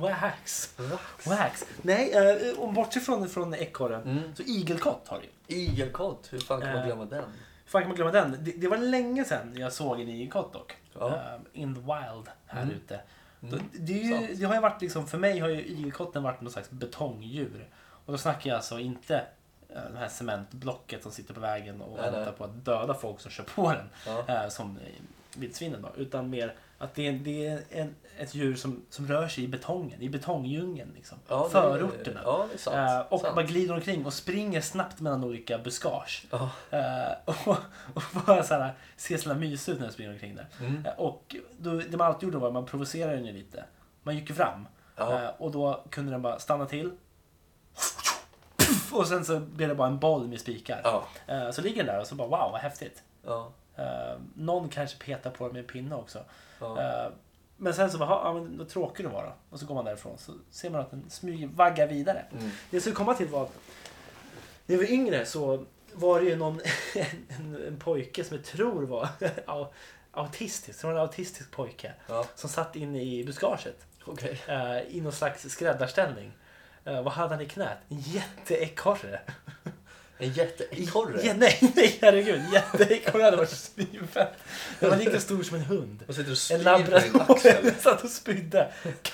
[SPEAKER 2] Wax.
[SPEAKER 1] Vax.
[SPEAKER 2] Wax. Nej, eh, om bortsett från, från ekorren.
[SPEAKER 1] Mm.
[SPEAKER 2] Så igelkott har du ju.
[SPEAKER 1] Igelkott, hur fan kan man
[SPEAKER 2] Eh.
[SPEAKER 1] glömma den?
[SPEAKER 2] Hur fan kan man glömma den? Det, det var länge sedan jag såg en igelkott dock.
[SPEAKER 1] Ja.
[SPEAKER 2] Eh, in the wild här
[SPEAKER 1] Mm.
[SPEAKER 2] ute.
[SPEAKER 1] Mm.
[SPEAKER 2] Då- Det, är ju,
[SPEAKER 1] Sant.
[SPEAKER 2] det har ju varit liksom, för mig har ju igelkotten varit någon slags betongdjur. Och då snackar jag alltså inte eh, det här cementblocket som sitter på vägen och
[SPEAKER 1] Nej, nej.
[SPEAKER 2] väntar på att döda folk som kör på den.
[SPEAKER 1] Ja.
[SPEAKER 2] eh, som eh, vildsvinen då. Utan mer att det är, det är en, ett djur som, som rör sig i betongen, i betongdjungeln. Liksom.
[SPEAKER 1] Ja, det-
[SPEAKER 2] Förorterna.
[SPEAKER 1] Ja, det är sant.
[SPEAKER 2] Eh, och
[SPEAKER 1] sant.
[SPEAKER 2] bara glider omkring och springer snabbt mellan olika buskage.
[SPEAKER 1] Ja.
[SPEAKER 2] Eh, och, och bara så här, ser så jävla mysig ut när den springer omkring där.
[SPEAKER 1] Mm.
[SPEAKER 2] Eh, Och då, det man alltid gjorde var att man provocerade den ju lite. Man gick ju fram.
[SPEAKER 1] Ja.
[SPEAKER 2] Eh, Och då kunde den bara stanna till. Puff! Och sen så blev det bara en boll med spikar.
[SPEAKER 1] Ja.
[SPEAKER 2] Eh, Så ligger den där och så bara wow vad häftigt.
[SPEAKER 1] Ja.
[SPEAKER 2] Eh, Någon kanske petar på den med en pinne också.
[SPEAKER 1] Ja.
[SPEAKER 2] Eh, Men sen så bara, "Ha, ja, men vad tråkig du var då. Och så går man därifrån så ser man att den smyger, vaggar vidare.
[SPEAKER 1] Mm.
[SPEAKER 2] Det jag skulle komma till var att när jag var yngre så var det ju någon, en, en, en pojke som jag tror var au- autistisk, som var en autistisk pojke.
[SPEAKER 1] Ja.
[SPEAKER 2] Som satt inne i buskaget
[SPEAKER 1] Okej.
[SPEAKER 2] eh, i någon slags skräddarställning. Eh, vad hade han i knät? En jätteekorre.
[SPEAKER 1] En jätteekorre.
[SPEAKER 2] Ja, nej, nej herregud. En Jätteekorre hade varit svinfett. Den var lika stor som en hund.
[SPEAKER 1] Och sitter och
[SPEAKER 2] En
[SPEAKER 1] spyr på din axel.
[SPEAKER 2] labrador satt och spydde.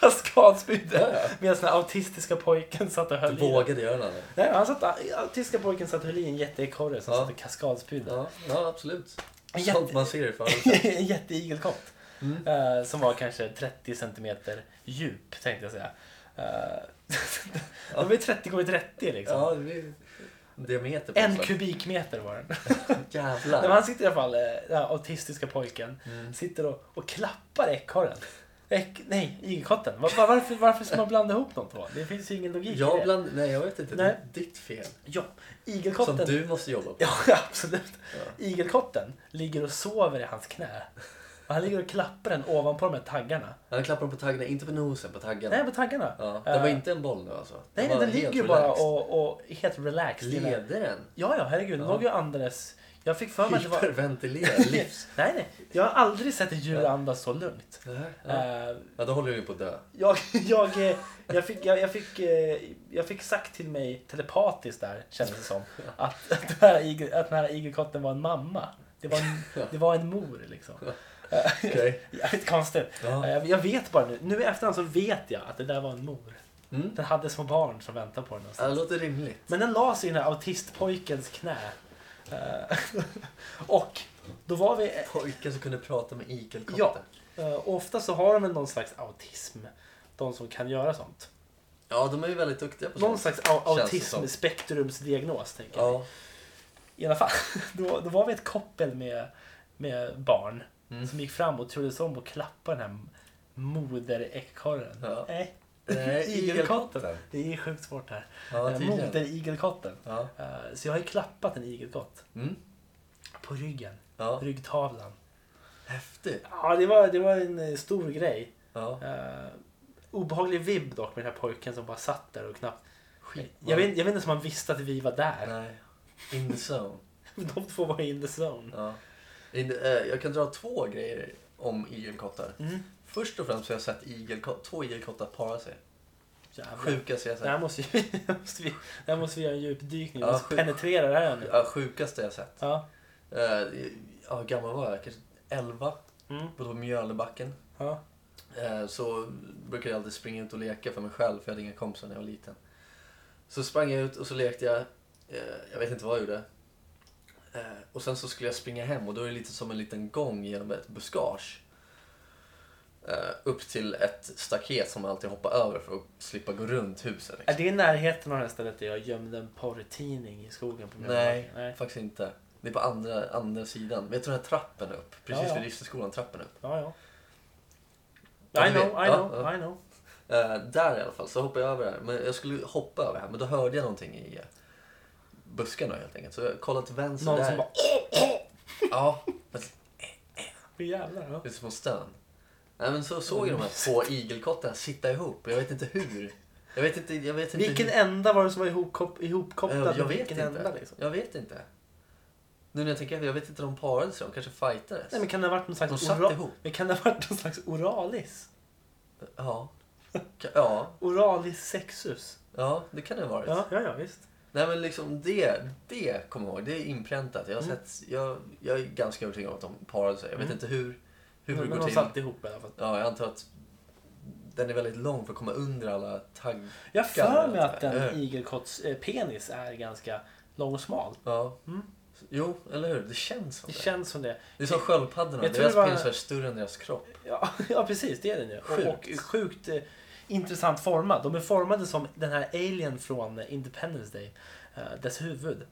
[SPEAKER 2] Kaskadspydde.
[SPEAKER 1] Ja.
[SPEAKER 2] Medan den här autistiska pojken satt och höll i den.
[SPEAKER 1] Vågade göra det.
[SPEAKER 2] Nej, han satt, tyska pojken satt och höll i en jätteekorre som
[SPEAKER 1] Ja.
[SPEAKER 2] satt och kaskadspydde.
[SPEAKER 1] Ja, ja absolut.
[SPEAKER 2] En
[SPEAKER 1] Sånt
[SPEAKER 2] jätte-
[SPEAKER 1] man ser i liksom. förhållande.
[SPEAKER 2] en jätteigelkott.
[SPEAKER 1] Mm.
[SPEAKER 2] Eh, som var kanske 30 centimeter djup, tänkte jag säga. Eh, de är 30 gånger 30 liksom.
[SPEAKER 1] Ja, det blir diameter på
[SPEAKER 2] En
[SPEAKER 1] slag.
[SPEAKER 2] kubikmeter var den.
[SPEAKER 1] Jävlar. Mm.
[SPEAKER 2] Nej, men han sitter i alla fall, eh, den här autistiska pojken, sitter och, och klappar ekorren. Ek- nej, igelkotten. Var, var, varför, varför ska man blanda ihop dem då? Det finns ju ingen logik i
[SPEAKER 1] Jag
[SPEAKER 2] det.
[SPEAKER 1] bland... Nej, jag vet inte. Det är ditt fel.
[SPEAKER 2] Ja,
[SPEAKER 1] Som
[SPEAKER 2] igelkotten.
[SPEAKER 1] du måste jobba på.
[SPEAKER 2] Ja, absolut.
[SPEAKER 1] Ja.
[SPEAKER 2] Igelkotten ligger och sover i hans knä. Och han ligger och klappar den ovanpå de här taggarna.
[SPEAKER 1] Han klappar på taggarna, inte på nosen, på taggarna.
[SPEAKER 2] Nej, på taggarna.
[SPEAKER 1] Ja, det var
[SPEAKER 2] Eh,
[SPEAKER 1] inte en boll nu alltså.
[SPEAKER 2] Nej,
[SPEAKER 1] var
[SPEAKER 2] den ligger
[SPEAKER 1] helt
[SPEAKER 2] ju bara
[SPEAKER 1] relaxed.
[SPEAKER 2] och, och helt relaxed. i den.
[SPEAKER 1] Leder den?
[SPEAKER 2] Ja, ja, herregud. Den
[SPEAKER 1] Ja.
[SPEAKER 2] låg ju och andades. Jag fick för mig att det var...
[SPEAKER 1] Hyperventilerar livs...
[SPEAKER 2] Nej, nej. Jag har aldrig sett ett djur andas så lugnt.
[SPEAKER 1] Nej, ja.
[SPEAKER 2] Eh,
[SPEAKER 1] ja, då håller du ju på att dö.
[SPEAKER 2] jag, jag, eh, jag, fick, jag, jag, fick, eh, jag fick sagt till mig telepatiskt där, kändes det som, att, att, den, här igel, att den här igelkotten var en mamma. Det var en, det var en mor liksom. Eh,
[SPEAKER 1] Okej.
[SPEAKER 2] Jävligt konstigt.
[SPEAKER 1] Ja.
[SPEAKER 2] Eh, Jag vet bara nu, nu i efterhand så vet jag att det där var en mor.
[SPEAKER 1] Mm.
[SPEAKER 2] Den hade små barn som väntade på den
[SPEAKER 1] Ja, det
[SPEAKER 2] någonstans.
[SPEAKER 1] låter rimligt.
[SPEAKER 2] Men den la sig i den här autistpojkens knä. Eh, och då var vi... eh,
[SPEAKER 1] Pojkar som kunde prata med igelkottar.
[SPEAKER 2] Ja, eh, och ofta så har de väl någon slags autism. De som kan göra sånt.
[SPEAKER 1] ja, de är ju väldigt duktiga på
[SPEAKER 2] Någon
[SPEAKER 1] sånt.
[SPEAKER 2] slags au-
[SPEAKER 1] Känns det som.
[SPEAKER 2] autismspektrumsdiagnos tänker jag.
[SPEAKER 1] Ja.
[SPEAKER 2] I alla fall, då, då var vi ett koppel med, med barn
[SPEAKER 1] Mm.
[SPEAKER 2] som gick fram och turades om och klappade den här moderekorren.
[SPEAKER 1] Ja.
[SPEAKER 2] Nej,
[SPEAKER 1] Nej, igelkotten.
[SPEAKER 2] det är sjukt svårt det här.
[SPEAKER 1] Ja,
[SPEAKER 2] Eh,
[SPEAKER 1] tydligen.
[SPEAKER 2] Moderigelkotten.
[SPEAKER 1] Ja.
[SPEAKER 2] Eh, Så jag har ju klappat en igelkott
[SPEAKER 1] Mm.
[SPEAKER 2] på ryggen,
[SPEAKER 1] ja.
[SPEAKER 2] ryggtavlan.
[SPEAKER 1] Häftigt.
[SPEAKER 2] Ja, det var, det var en eh, stor grej.
[SPEAKER 1] Ja.
[SPEAKER 2] Eh, obehaglig vibb dock med den här pojken som bara satt där och knappt...
[SPEAKER 1] Skit.
[SPEAKER 2] Jag vet, jag vet inte ens om han visste att vi var där.
[SPEAKER 1] Nej. In the zone.
[SPEAKER 2] De två var in the zone.
[SPEAKER 1] Ja. In, eh, jag kan dra två grejer om igelkottar.
[SPEAKER 2] Mm.
[SPEAKER 1] Först och främst så har jag sett igelkott, två igelkottar para sig.
[SPEAKER 2] Jävlar.
[SPEAKER 1] Sjukaste jag
[SPEAKER 2] Det
[SPEAKER 1] sett.
[SPEAKER 2] här måste, ju- det måste vi, det här måste vi göra en djupdykning. Vi
[SPEAKER 1] Ja,
[SPEAKER 2] måste
[SPEAKER 1] sjuk-
[SPEAKER 2] penetrera det här nu.
[SPEAKER 1] Ja, sjukaste jag sett.
[SPEAKER 2] Ja.
[SPEAKER 1] Eh, ja, hur gammal var jag? Kanske 11?
[SPEAKER 2] Mm.
[SPEAKER 1] Bodde på Mjölnebacken.
[SPEAKER 2] Ja.
[SPEAKER 1] Eh, så brukade jag alltid springa ut och leka för mig själv, för jag hade inga kompisar när jag var liten. Så sprang jag ut och så lekte jag. Eh, jag vet inte vad jag gjorde. Eh, och sen så skulle jag springa hem och då är det lite som en liten gång genom ett buskage. Eh, upp till ett staket som man alltid hoppar över för att slippa gå runt huset.
[SPEAKER 2] Är
[SPEAKER 1] Liksom.
[SPEAKER 2] det i närheten av det här stället där jag gömde en porrtidning i skogen? På min
[SPEAKER 1] Nej,
[SPEAKER 2] Nej.
[SPEAKER 1] faktiskt inte. Det är på andra, andra sidan. Men jag tror den här trappen upp, precis
[SPEAKER 2] Ja, ja.
[SPEAKER 1] vid Rysseskolan, trappen upp.
[SPEAKER 2] Ja,
[SPEAKER 1] Ja,
[SPEAKER 2] ja. I
[SPEAKER 1] du
[SPEAKER 2] know,
[SPEAKER 1] vet.
[SPEAKER 2] I
[SPEAKER 1] Ja,
[SPEAKER 2] know,
[SPEAKER 1] ja.
[SPEAKER 2] I know.
[SPEAKER 1] Eh, där i alla fall, så hoppade jag över här. Men jag skulle hoppa över här, men då hörde jag någonting i eh, buskarna helt enkelt. Så jag kollade till vänster
[SPEAKER 2] Någon
[SPEAKER 1] där.
[SPEAKER 2] som bara...
[SPEAKER 1] Ja, men
[SPEAKER 2] Åh, jävlar. Ja.
[SPEAKER 1] lite som stön. Nej men så såg jag de här två igelkottarna sitta ihop. Jag vet inte hur. Jag vet inte, jag vet inte
[SPEAKER 2] Vilken
[SPEAKER 1] hur.
[SPEAKER 2] ända var det som var ihopkop-
[SPEAKER 1] Eh,
[SPEAKER 2] ihopkopplad?
[SPEAKER 1] Jag
[SPEAKER 2] med
[SPEAKER 1] vet
[SPEAKER 2] vilken
[SPEAKER 1] inte.
[SPEAKER 2] Ända, liksom?
[SPEAKER 1] Jag vet inte. Nu när jag tänker efter, jag vet inte de parade sig. De kanske fightades.
[SPEAKER 2] Nej, men kan det ha varit någon
[SPEAKER 1] De
[SPEAKER 2] slags,
[SPEAKER 1] satt
[SPEAKER 2] ora-
[SPEAKER 1] ihop.
[SPEAKER 2] men kan det ha varit någon slags oralis?
[SPEAKER 1] Ja. Ka- Ja,
[SPEAKER 2] Oralis sexus?
[SPEAKER 1] ja, det kan det ha varit.
[SPEAKER 2] Ja, ja, ja visst.
[SPEAKER 1] Nej men liksom det, det kommer jag ihåg. Det är inpräntat. Jag, har
[SPEAKER 2] Mm.
[SPEAKER 1] sett, jag, jag är ganska övertygad om att de parade sig. Jag vet
[SPEAKER 2] Mm.
[SPEAKER 1] inte hur, hur
[SPEAKER 2] Men,
[SPEAKER 1] det
[SPEAKER 2] men
[SPEAKER 1] går
[SPEAKER 2] de
[SPEAKER 1] till.
[SPEAKER 2] satt ihop i alla fall.
[SPEAKER 1] Ja, jag antar att den är väldigt lång för att komma under alla tagg...
[SPEAKER 2] Jag har för mig
[SPEAKER 1] Galet,
[SPEAKER 2] att
[SPEAKER 1] ja.
[SPEAKER 2] en igelkotts eh, penis är ganska lång och smal.
[SPEAKER 1] Ja.
[SPEAKER 2] Mm.
[SPEAKER 1] Jo, eller hur? Det känns som
[SPEAKER 2] Det
[SPEAKER 1] det.
[SPEAKER 2] känns som det.
[SPEAKER 1] det är som sköldpaddorna.
[SPEAKER 2] Jag tror
[SPEAKER 1] Deras
[SPEAKER 2] det var-
[SPEAKER 1] penisar är större än deras kropp.
[SPEAKER 2] Ja, ja precis, det är den ju.
[SPEAKER 1] Sjukt.
[SPEAKER 2] Och, och sjukt eh, intressant formad. De är formade som den här alien från eh, Independence Day. Eh, dess huvud.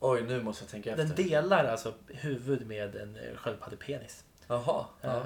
[SPEAKER 1] Oj, nu måste jag tänka
[SPEAKER 2] Den
[SPEAKER 1] efter.
[SPEAKER 2] delar alltså huvud med en eh, sköldpaddepenis.
[SPEAKER 1] Jaha. Ja.
[SPEAKER 2] Eh,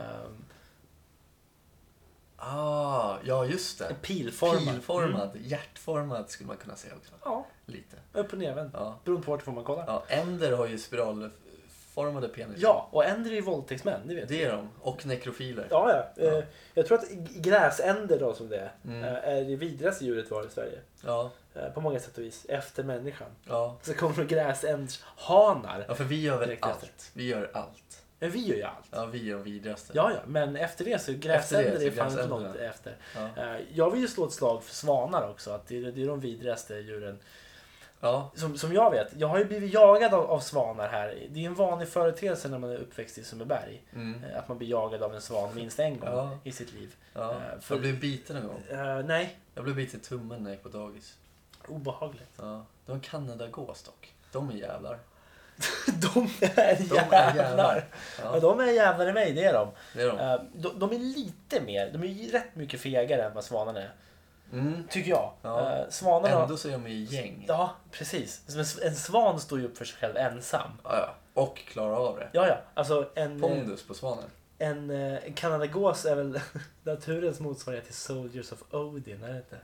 [SPEAKER 1] Ah, ja, just det.
[SPEAKER 2] en pilformad. Mm.
[SPEAKER 1] Pilformad. Hjärtformad skulle man kunna säga också.
[SPEAKER 2] Ja,
[SPEAKER 1] Lite.
[SPEAKER 2] upp och nervänd.
[SPEAKER 1] Ja.
[SPEAKER 2] Beroende på vart får man kolla. Ja,
[SPEAKER 1] ja. Änder har ju spiralformade penisar.
[SPEAKER 2] och änder är ju våldtäktsmän, det vet vi.
[SPEAKER 1] Det är de. Och nekrofiler.
[SPEAKER 2] Ja, ja. Eh,
[SPEAKER 1] Ja.
[SPEAKER 2] Jag tror att g- gräsänder då som det är,
[SPEAKER 1] Mm.
[SPEAKER 2] eh, är det vidrigaste djuret vi har i Sverige.
[SPEAKER 1] Ja,
[SPEAKER 2] Eh, På många sätt och vis. Efter människan.
[SPEAKER 1] ja.
[SPEAKER 2] Så kommer det gräsändshanar.
[SPEAKER 1] Ja, för vi gör väl
[SPEAKER 2] Direkt efter.
[SPEAKER 1] allt. Vi gör allt.
[SPEAKER 2] Men vi gör ju allt.
[SPEAKER 1] Ja, vi är de vidrigaste.
[SPEAKER 2] Ja, ja, men efter det så gräsänder
[SPEAKER 1] Efter det så
[SPEAKER 2] är fan inte
[SPEAKER 1] gräsänder.
[SPEAKER 2] långt efter.
[SPEAKER 1] Ja.
[SPEAKER 2] Eh, Jag vill ju slå ett slag för svanar också, att det är, det är de vidrigaste djuren.
[SPEAKER 1] ja.
[SPEAKER 2] Som, som jag vet, jag har ju blivit jagad av, av svanar här. Det är en vanlig företeelse när man är uppväxt i Sundbyberg.
[SPEAKER 1] Mm.
[SPEAKER 2] eh, Att man blir jagad av en svan minst en gång
[SPEAKER 1] Ja.
[SPEAKER 2] i sitt liv.
[SPEAKER 1] ja.
[SPEAKER 2] Eh, för-
[SPEAKER 1] Jag blev biten en gång.
[SPEAKER 2] Eh, nej,
[SPEAKER 1] Jag blev biten i tummen när jag gick på dagis.
[SPEAKER 2] obehagligt.
[SPEAKER 1] Ja. Det var en kanadagås dock. De är jävlar.
[SPEAKER 2] De är
[SPEAKER 1] De
[SPEAKER 2] jävlar!
[SPEAKER 1] är jävlar.
[SPEAKER 2] Ja.
[SPEAKER 1] Ja,
[SPEAKER 2] De är jävlar i mig, det är de.
[SPEAKER 1] det är de.
[SPEAKER 2] Eh, De, de är lite mer, de är ju rätt mycket fegare än vad svanarna är.
[SPEAKER 1] Mm.
[SPEAKER 2] Tycker jag.
[SPEAKER 1] Ja.
[SPEAKER 2] Eh, Svanarna...
[SPEAKER 1] Ändå så är de i gäng. Ja,
[SPEAKER 2] Ja, precis. Som en- En svan står ju upp för sig själv ensam.
[SPEAKER 1] ja. Och klarar av det.
[SPEAKER 2] Ja, ja. Alltså en,
[SPEAKER 1] Pondus på svanen.
[SPEAKER 2] en, eh, en kanadagås är väl naturens motsvarighet till Soldiers of Odin, är det inte?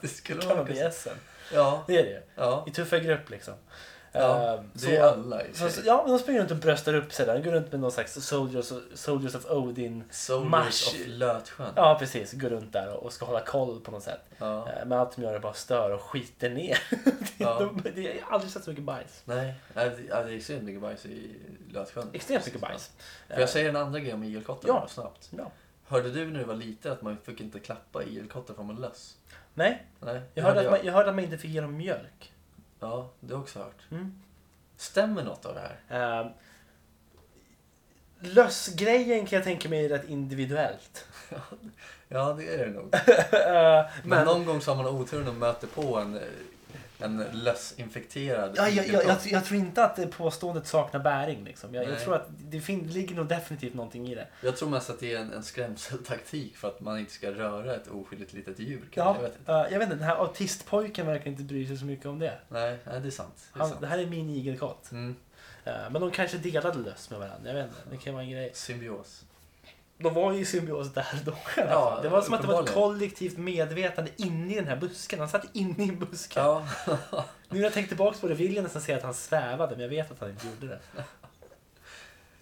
[SPEAKER 1] det skulle vara...
[SPEAKER 2] Kanadagässen.
[SPEAKER 1] Ja,
[SPEAKER 2] Det är det ju.
[SPEAKER 1] ja.
[SPEAKER 2] I tuffa grupp liksom.
[SPEAKER 1] Ja,
[SPEAKER 2] Ehm,
[SPEAKER 1] Det är ju alla i
[SPEAKER 2] så, så,
[SPEAKER 1] sig.
[SPEAKER 2] ja, men de springer runt och bröstar upp sig där. De går runt med någon slags Soldiers, Soldiers of Odin.
[SPEAKER 1] Soldiers
[SPEAKER 2] Mars-
[SPEAKER 1] of Lötsjön.
[SPEAKER 2] Ja, precis. Går runt där och ska hålla koll på något sätt.
[SPEAKER 1] Ja.
[SPEAKER 2] Eh, Men allt de gör är bara stör och skiter ner. Det är-
[SPEAKER 1] Ja.
[SPEAKER 2] de, det, jag har aldrig sett så mycket bajs.
[SPEAKER 1] Nej, nej, det ja, det är extremt mycket bajs i Lötsjön.
[SPEAKER 2] Extremt mycket bajs.
[SPEAKER 1] Får jag säga en andra grej om igelkottar
[SPEAKER 2] Ja.
[SPEAKER 1] bara snabbt?
[SPEAKER 2] Ja.
[SPEAKER 1] Hörde du när du var liten att man fick inte klappa igelkottar för man löss?
[SPEAKER 2] Nej,
[SPEAKER 1] Nej, det
[SPEAKER 2] jag hörde, att man, jag hörde att man inte fick ge dem mjölk.
[SPEAKER 1] Ja, det har jag också hört.
[SPEAKER 2] Mm.
[SPEAKER 1] Stämmer något av det här?
[SPEAKER 2] Eh, lössgrejen kan jag tänka mig är rätt individuellt.
[SPEAKER 1] Ja, det är det nog.
[SPEAKER 2] Eh,
[SPEAKER 1] Men,
[SPEAKER 2] men
[SPEAKER 1] någon gång så har man oturen och möter på en, eh, en lössinfekterad
[SPEAKER 2] ja, jag, jag,
[SPEAKER 1] igelkott.
[SPEAKER 2] jag, jag tror inte att det påståendet saknar bäring. Liksom. Jag, jag
[SPEAKER 1] Nej.
[SPEAKER 2] tror att det fin- ligger nog definitivt någonting i det.
[SPEAKER 1] Jag tror mest att det är en, en skrämseltaktik för att man inte ska röra ett oskyldigt litet djur. kanske. Jag
[SPEAKER 2] Ja,
[SPEAKER 1] vet inte.
[SPEAKER 2] eh, jag vet inte, den här autistpojken verkar inte bry sig så mycket om det.
[SPEAKER 1] Nej, nej, det är sant. Det är
[SPEAKER 2] Han,
[SPEAKER 1] sant.
[SPEAKER 2] det här är min igelkott.
[SPEAKER 1] Mm,
[SPEAKER 2] Eh, Men de kanske delade löss med varandra, jag vet inte. Det kan vara en grej.
[SPEAKER 1] symbios.
[SPEAKER 2] De var ju i symbios där då i alla
[SPEAKER 1] Ja,
[SPEAKER 2] fall. Det var som att det var ett
[SPEAKER 1] uppenbarligen.
[SPEAKER 2] kollektivt medvetande inne i den här busken. Han satt inne i busken.
[SPEAKER 1] Ja,
[SPEAKER 2] Nu när jag tänker tillbaka på det vill jag nästan säga att han svävade, men jag vet att han inte gjorde det.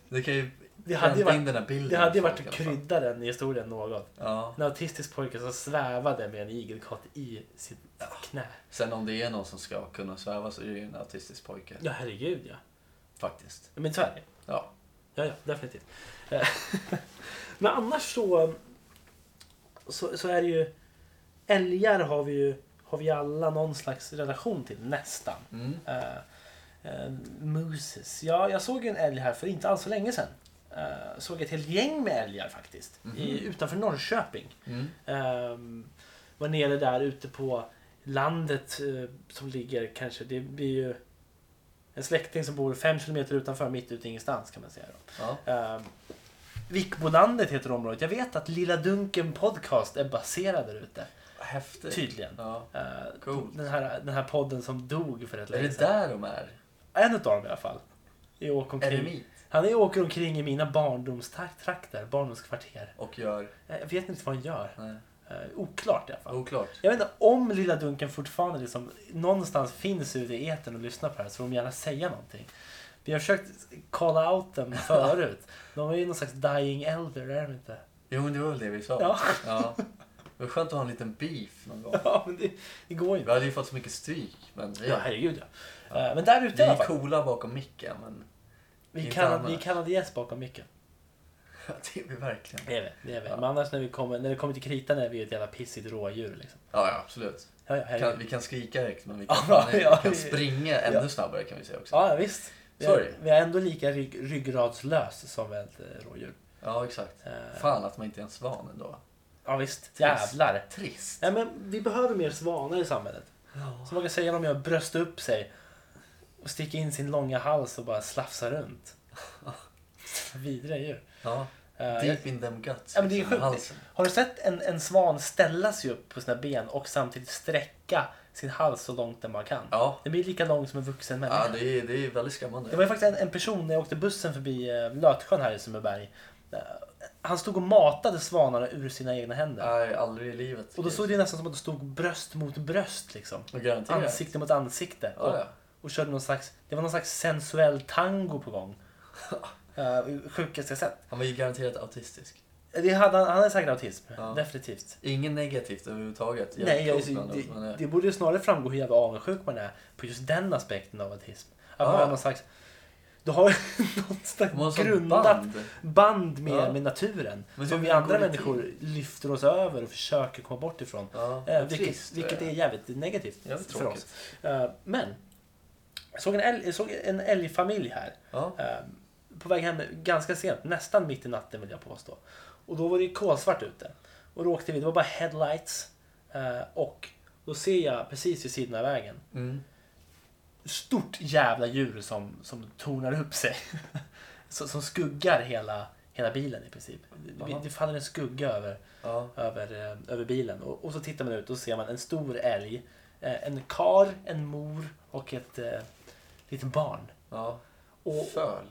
[SPEAKER 1] det kan ju
[SPEAKER 2] Det hade ju
[SPEAKER 1] pränta in
[SPEAKER 2] varit-
[SPEAKER 1] den här bilden.
[SPEAKER 2] Det hade ju
[SPEAKER 1] för
[SPEAKER 2] varit
[SPEAKER 1] folk
[SPEAKER 2] att
[SPEAKER 1] i alla fall.
[SPEAKER 2] krydda den i historien något.
[SPEAKER 1] Ja.
[SPEAKER 2] En autistisk pojke som svävade med en igelkott i sitt knä.
[SPEAKER 1] Sen om det är någon som ska kunna sväva så är det ju en autistisk pojke.
[SPEAKER 2] Ja, herregud ja.
[SPEAKER 1] Faktiskt.
[SPEAKER 2] Men så är det.
[SPEAKER 1] Ja.
[SPEAKER 2] Ja, ja, definitivt. Eh, Men annars så, så, så är det ju... Älgar har vi ju har vi alla någon slags relation till, nästan.
[SPEAKER 1] Mm.
[SPEAKER 2] Uh, Moses. Ja, jag såg ju en älg här för inte alls så länge sedan. Eh, såg ett helt gäng med älgar faktiskt. I, utanför Norrköping.
[SPEAKER 1] Mm.
[SPEAKER 2] Ehm, var nere där ute på landet eh, som ligger kanske, det blir ju en släkting som bor fem kilometer utanför, mitt ute i ingenstans kan man säga. Då.
[SPEAKER 1] Ja.
[SPEAKER 2] Ehm, Vikbolandet heter området. Jag vet att Lilla Dunken Podcast är baserad där ute.
[SPEAKER 1] Häftigt.
[SPEAKER 2] Tydligen.
[SPEAKER 1] Ja.
[SPEAKER 2] Ehm,
[SPEAKER 1] Coolt.
[SPEAKER 2] den, här, den här podden som dog för ett
[SPEAKER 1] Är
[SPEAKER 2] länge
[SPEAKER 1] det
[SPEAKER 2] sedan.
[SPEAKER 1] där de är?
[SPEAKER 2] En utav dem i alla fall. Jag åker omkring.
[SPEAKER 1] Eremit?
[SPEAKER 2] Han är- åker omkring i mina barndomstrakter, barndomskvarter.
[SPEAKER 1] Och gör...
[SPEAKER 2] Jag vet inte vad han gör.
[SPEAKER 1] Nej.
[SPEAKER 2] Ehm, oklart i alla fall.
[SPEAKER 1] Oklart.
[SPEAKER 2] Jag vet inte om Lilla Dunken fortfarande liksom, någonstans finns ute i etern och lyssnar på det här så får de gärna säga någonting. Vi har försökt call out dem förut. De är ju någon slags dying elder, är de inte?
[SPEAKER 1] Jo, men det var väl det vi sa.
[SPEAKER 2] Ja.
[SPEAKER 1] ja. Det var skönt att ha en liten beef någon gång.
[SPEAKER 2] Ja, men det, det går ju
[SPEAKER 1] Vi
[SPEAKER 2] inte.
[SPEAKER 1] hade ju fått så mycket stryk. Men vi,
[SPEAKER 2] Ja, herregud ja. Eh, Men där
[SPEAKER 1] vi
[SPEAKER 2] ute i alla
[SPEAKER 1] är
[SPEAKER 2] fall.
[SPEAKER 1] coola bakom micken. Men
[SPEAKER 2] Vi
[SPEAKER 1] Inte
[SPEAKER 2] kan,
[SPEAKER 1] annars.
[SPEAKER 2] vi kan yes bakom mycket.
[SPEAKER 1] det är vi verkligen.
[SPEAKER 2] Det är vi. Det är vi.
[SPEAKER 1] Ja.
[SPEAKER 2] Men annars när, vi kommer, när det kommer till kritan är vi ju ett jävla pissigt rådjur. Liksom.
[SPEAKER 1] Ja, ja absolut.
[SPEAKER 2] Ja, ja,
[SPEAKER 1] Kan,
[SPEAKER 2] herregud.
[SPEAKER 1] vi kan skrika direkt, men vi kan,
[SPEAKER 2] Ja,
[SPEAKER 1] vi
[SPEAKER 2] ja,
[SPEAKER 1] kan
[SPEAKER 2] vi-
[SPEAKER 1] springa ännu snabbare kan vi säga också.
[SPEAKER 2] ja, ja visst. Vi är,
[SPEAKER 1] Sorry.
[SPEAKER 2] vi är ändå lika rygg, ryggradslös som ett eh, rådjur.
[SPEAKER 1] Ja, exakt.
[SPEAKER 2] Eh,
[SPEAKER 1] Fan att man inte är en svan ändå.
[SPEAKER 2] Ja visst, jävlar.
[SPEAKER 1] Trist.
[SPEAKER 2] Nej, men vi behöver mer svanar i samhället.
[SPEAKER 1] Ja.
[SPEAKER 2] Som man kan säga om jag bröst upp sig och sticker in sin långa hals och bara slafsar runt. Vidriga djur.
[SPEAKER 1] ja.
[SPEAKER 2] Eh, jag-
[SPEAKER 1] Deep in them guts.
[SPEAKER 2] Ja, men det är
[SPEAKER 1] liksom, i
[SPEAKER 2] sjukt.
[SPEAKER 1] halsen.
[SPEAKER 2] Har du sett en, en svan ställa sig upp på sina ben och samtidigt sträcka sin hals så långt den bara kan?
[SPEAKER 1] Ja.
[SPEAKER 2] Den blir lika lång som en vuxen människa.
[SPEAKER 1] Ja, det är, det är väldigt skrämmande.
[SPEAKER 2] Det var ju faktiskt en, en person när jag åkte bussen förbi eh, Lötsjön här i Sundbyberg. Eh, Han stod och matade svanarna ur sina egna händer.
[SPEAKER 1] Nej, aldrig i livet.
[SPEAKER 2] Och då såg det nästan som att de stod bröst mot bröst liksom.
[SPEAKER 1] Och garanterat.
[SPEAKER 2] Ansikte mot ansikte.
[SPEAKER 1] Ja, ja.
[SPEAKER 2] Och, och körde någon slags, det var någon slags sensuell tango på gång. Uh, sjukaste jag sett.
[SPEAKER 1] Han var ju garanterat autistisk.
[SPEAKER 2] Det hade, han han hade säkert autism,
[SPEAKER 1] Ja.
[SPEAKER 2] definitivt.
[SPEAKER 1] Inget negativt överhuvudtaget. Jävligt
[SPEAKER 2] Nej, jag,
[SPEAKER 1] coolt bland annat, men,
[SPEAKER 2] det,
[SPEAKER 1] eh,
[SPEAKER 2] det borde ju snarare framgå hur jävla avundsjuk man är på just den aspekten av autism. Att man
[SPEAKER 1] Ja,
[SPEAKER 2] har
[SPEAKER 1] ja.
[SPEAKER 2] någon slags... Du har ju någon
[SPEAKER 1] de har en
[SPEAKER 2] slags
[SPEAKER 1] sån
[SPEAKER 2] grundat band,
[SPEAKER 1] band. med-
[SPEAKER 2] med,
[SPEAKER 1] Ja.
[SPEAKER 2] med naturen.
[SPEAKER 1] Men
[SPEAKER 2] som
[SPEAKER 1] hur
[SPEAKER 2] vi
[SPEAKER 1] går
[SPEAKER 2] andra
[SPEAKER 1] det
[SPEAKER 2] människor
[SPEAKER 1] till?
[SPEAKER 2] lyfter oss över och försöker komma bort ifrån.
[SPEAKER 1] Ja,
[SPEAKER 2] Eh,
[SPEAKER 1] vad
[SPEAKER 2] vilket,
[SPEAKER 1] trist,
[SPEAKER 2] vilket
[SPEAKER 1] eh.
[SPEAKER 2] är jävligt negativt
[SPEAKER 1] Jävligt
[SPEAKER 2] för oss.
[SPEAKER 1] tråkigt.
[SPEAKER 2] Eh, men, jag såg en, älg, jag såg en älgfamilj här.
[SPEAKER 1] Ja.
[SPEAKER 2] Eh, på väg hem ganska sent, nästan mitt i natten vill jag påstå. Och då var det kolsvart ute. Och då åkte vi, det var bara headlights. Eh, och då ser jag precis vid sidan av vägen.
[SPEAKER 1] Mm.
[SPEAKER 2] Stort jävla djur som, som tornar upp sig. som, som skuggar hela, hela bilen i princip. Det- Det,
[SPEAKER 1] Jaha.
[SPEAKER 2] det faller en skugga över,
[SPEAKER 1] Ja.
[SPEAKER 2] över, eh, över bilen. Och, och så tittar man ut och ser man en stor älg. Eh, en kar, en mor och ett eh, litet barn.
[SPEAKER 1] ja.
[SPEAKER 2] Och,
[SPEAKER 1] Föl.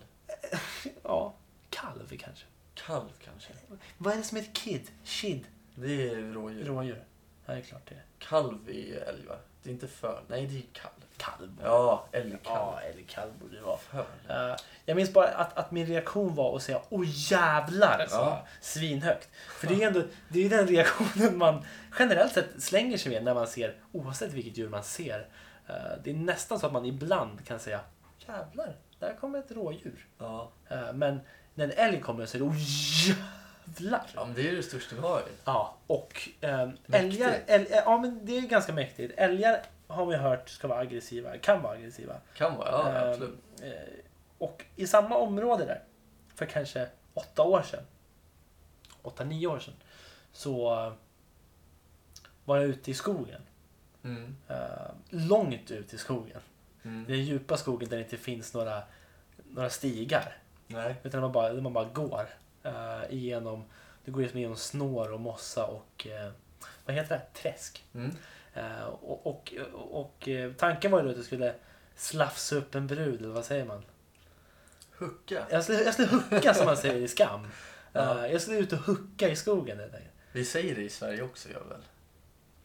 [SPEAKER 2] Ja, kalv kanske.
[SPEAKER 1] Kalv kanske.
[SPEAKER 2] Vad är det som heter kid? Kid?
[SPEAKER 1] Det är rådjur.
[SPEAKER 2] Mm. Rådjur. Ja, det är klart det är.
[SPEAKER 1] Kalv är älg va? Det är inte föl. Nej, det är kalv.
[SPEAKER 2] Kalv.
[SPEAKER 1] Ja, älgkalv.
[SPEAKER 2] Ja, eller kalv borde det vara.
[SPEAKER 1] Föl.
[SPEAKER 2] Eh, jag minns bara att, att min reaktion var att säga åh jävlar så
[SPEAKER 1] Ja.
[SPEAKER 2] svinhögt. För det är ju ändå det är den reaktionen man generellt sett slänger sig med när man ser oavsett vilket djur man ser. Eh, det är nästan så att man ibland kan säga jävlar, där kommer ett rådjur.
[SPEAKER 1] Ja.
[SPEAKER 2] Eh, men när en älg kommer så är det åh jävlar.
[SPEAKER 1] ja, men det är ju det största vi har ju.
[SPEAKER 2] Ja, och ehm,
[SPEAKER 1] Mäktigt.
[SPEAKER 2] älgar, äl, ä- ja men det är ju ganska mäktigt. Älgar har man ju hört ska vara aggressiva, kan vara aggressiva.
[SPEAKER 1] Kan vara, ja
[SPEAKER 2] Ehm,
[SPEAKER 1] absolut.
[SPEAKER 2] eh, Och i samma område där, för kanske åtta år sedan, åtta, nio år sedan, så eh, var jag ute i skogen.
[SPEAKER 1] Mm.
[SPEAKER 2] Eh, Långt ut i skogen.
[SPEAKER 1] Mm.
[SPEAKER 2] Den djupa skogen där det inte finns några, några stigar.
[SPEAKER 1] Nej.
[SPEAKER 2] Utan man bara, man bara går eh, igenom, det går liksom igenom snår och mossa och eh, vad heter det? Träsk.
[SPEAKER 1] Mm.
[SPEAKER 2] Eh, och, och, och, eh, tanken var ju då att jag skulle slafsa upp en brud, eller vad säger man?
[SPEAKER 1] Hucka.
[SPEAKER 2] Jag skulle, jag skulle hucka som man säger i skam. Eh,
[SPEAKER 1] Ja.
[SPEAKER 2] jag skulle ut och hucka i skogen helt enkelt.
[SPEAKER 1] Vi säger det i Sverige också, gör vi väl?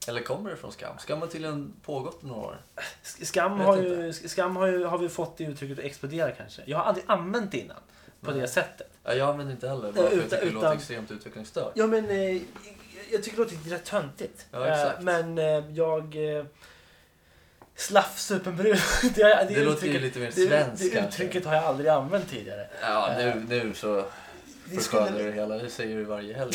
[SPEAKER 1] Eller kommer det från Skam? Skam har tydligen pågått några år.
[SPEAKER 2] Sk- Skam,
[SPEAKER 1] Vet
[SPEAKER 2] har ju, skam har ju har vi fått det uttrycket att explodera kanske. Jag har aldrig använt det innan på
[SPEAKER 1] Nej.
[SPEAKER 2] det sättet.
[SPEAKER 1] Ja, jag använder inte heller, bara för
[SPEAKER 2] Eh,
[SPEAKER 1] jag
[SPEAKER 2] utan-
[SPEAKER 1] tycker det låter
[SPEAKER 2] utan-
[SPEAKER 1] extremt utvecklingsstört.
[SPEAKER 2] Ja men eh, jag tycker det låter rätt töntigt.
[SPEAKER 1] Ja, exakt.
[SPEAKER 2] Eh, men eh, jag... Eh, slafsa upp en brud. Det, har jag-
[SPEAKER 1] Det låter ju
[SPEAKER 2] uttrycket-
[SPEAKER 1] lite mer
[SPEAKER 2] det-
[SPEAKER 1] svenskt
[SPEAKER 2] Det
[SPEAKER 1] kanske.
[SPEAKER 2] uttrycket har jag aldrig använt tidigare.
[SPEAKER 1] Ja, nu, nu så
[SPEAKER 2] Det
[SPEAKER 1] förskönar
[SPEAKER 2] skulle-
[SPEAKER 1] du det hela. Nu säger du varje helg.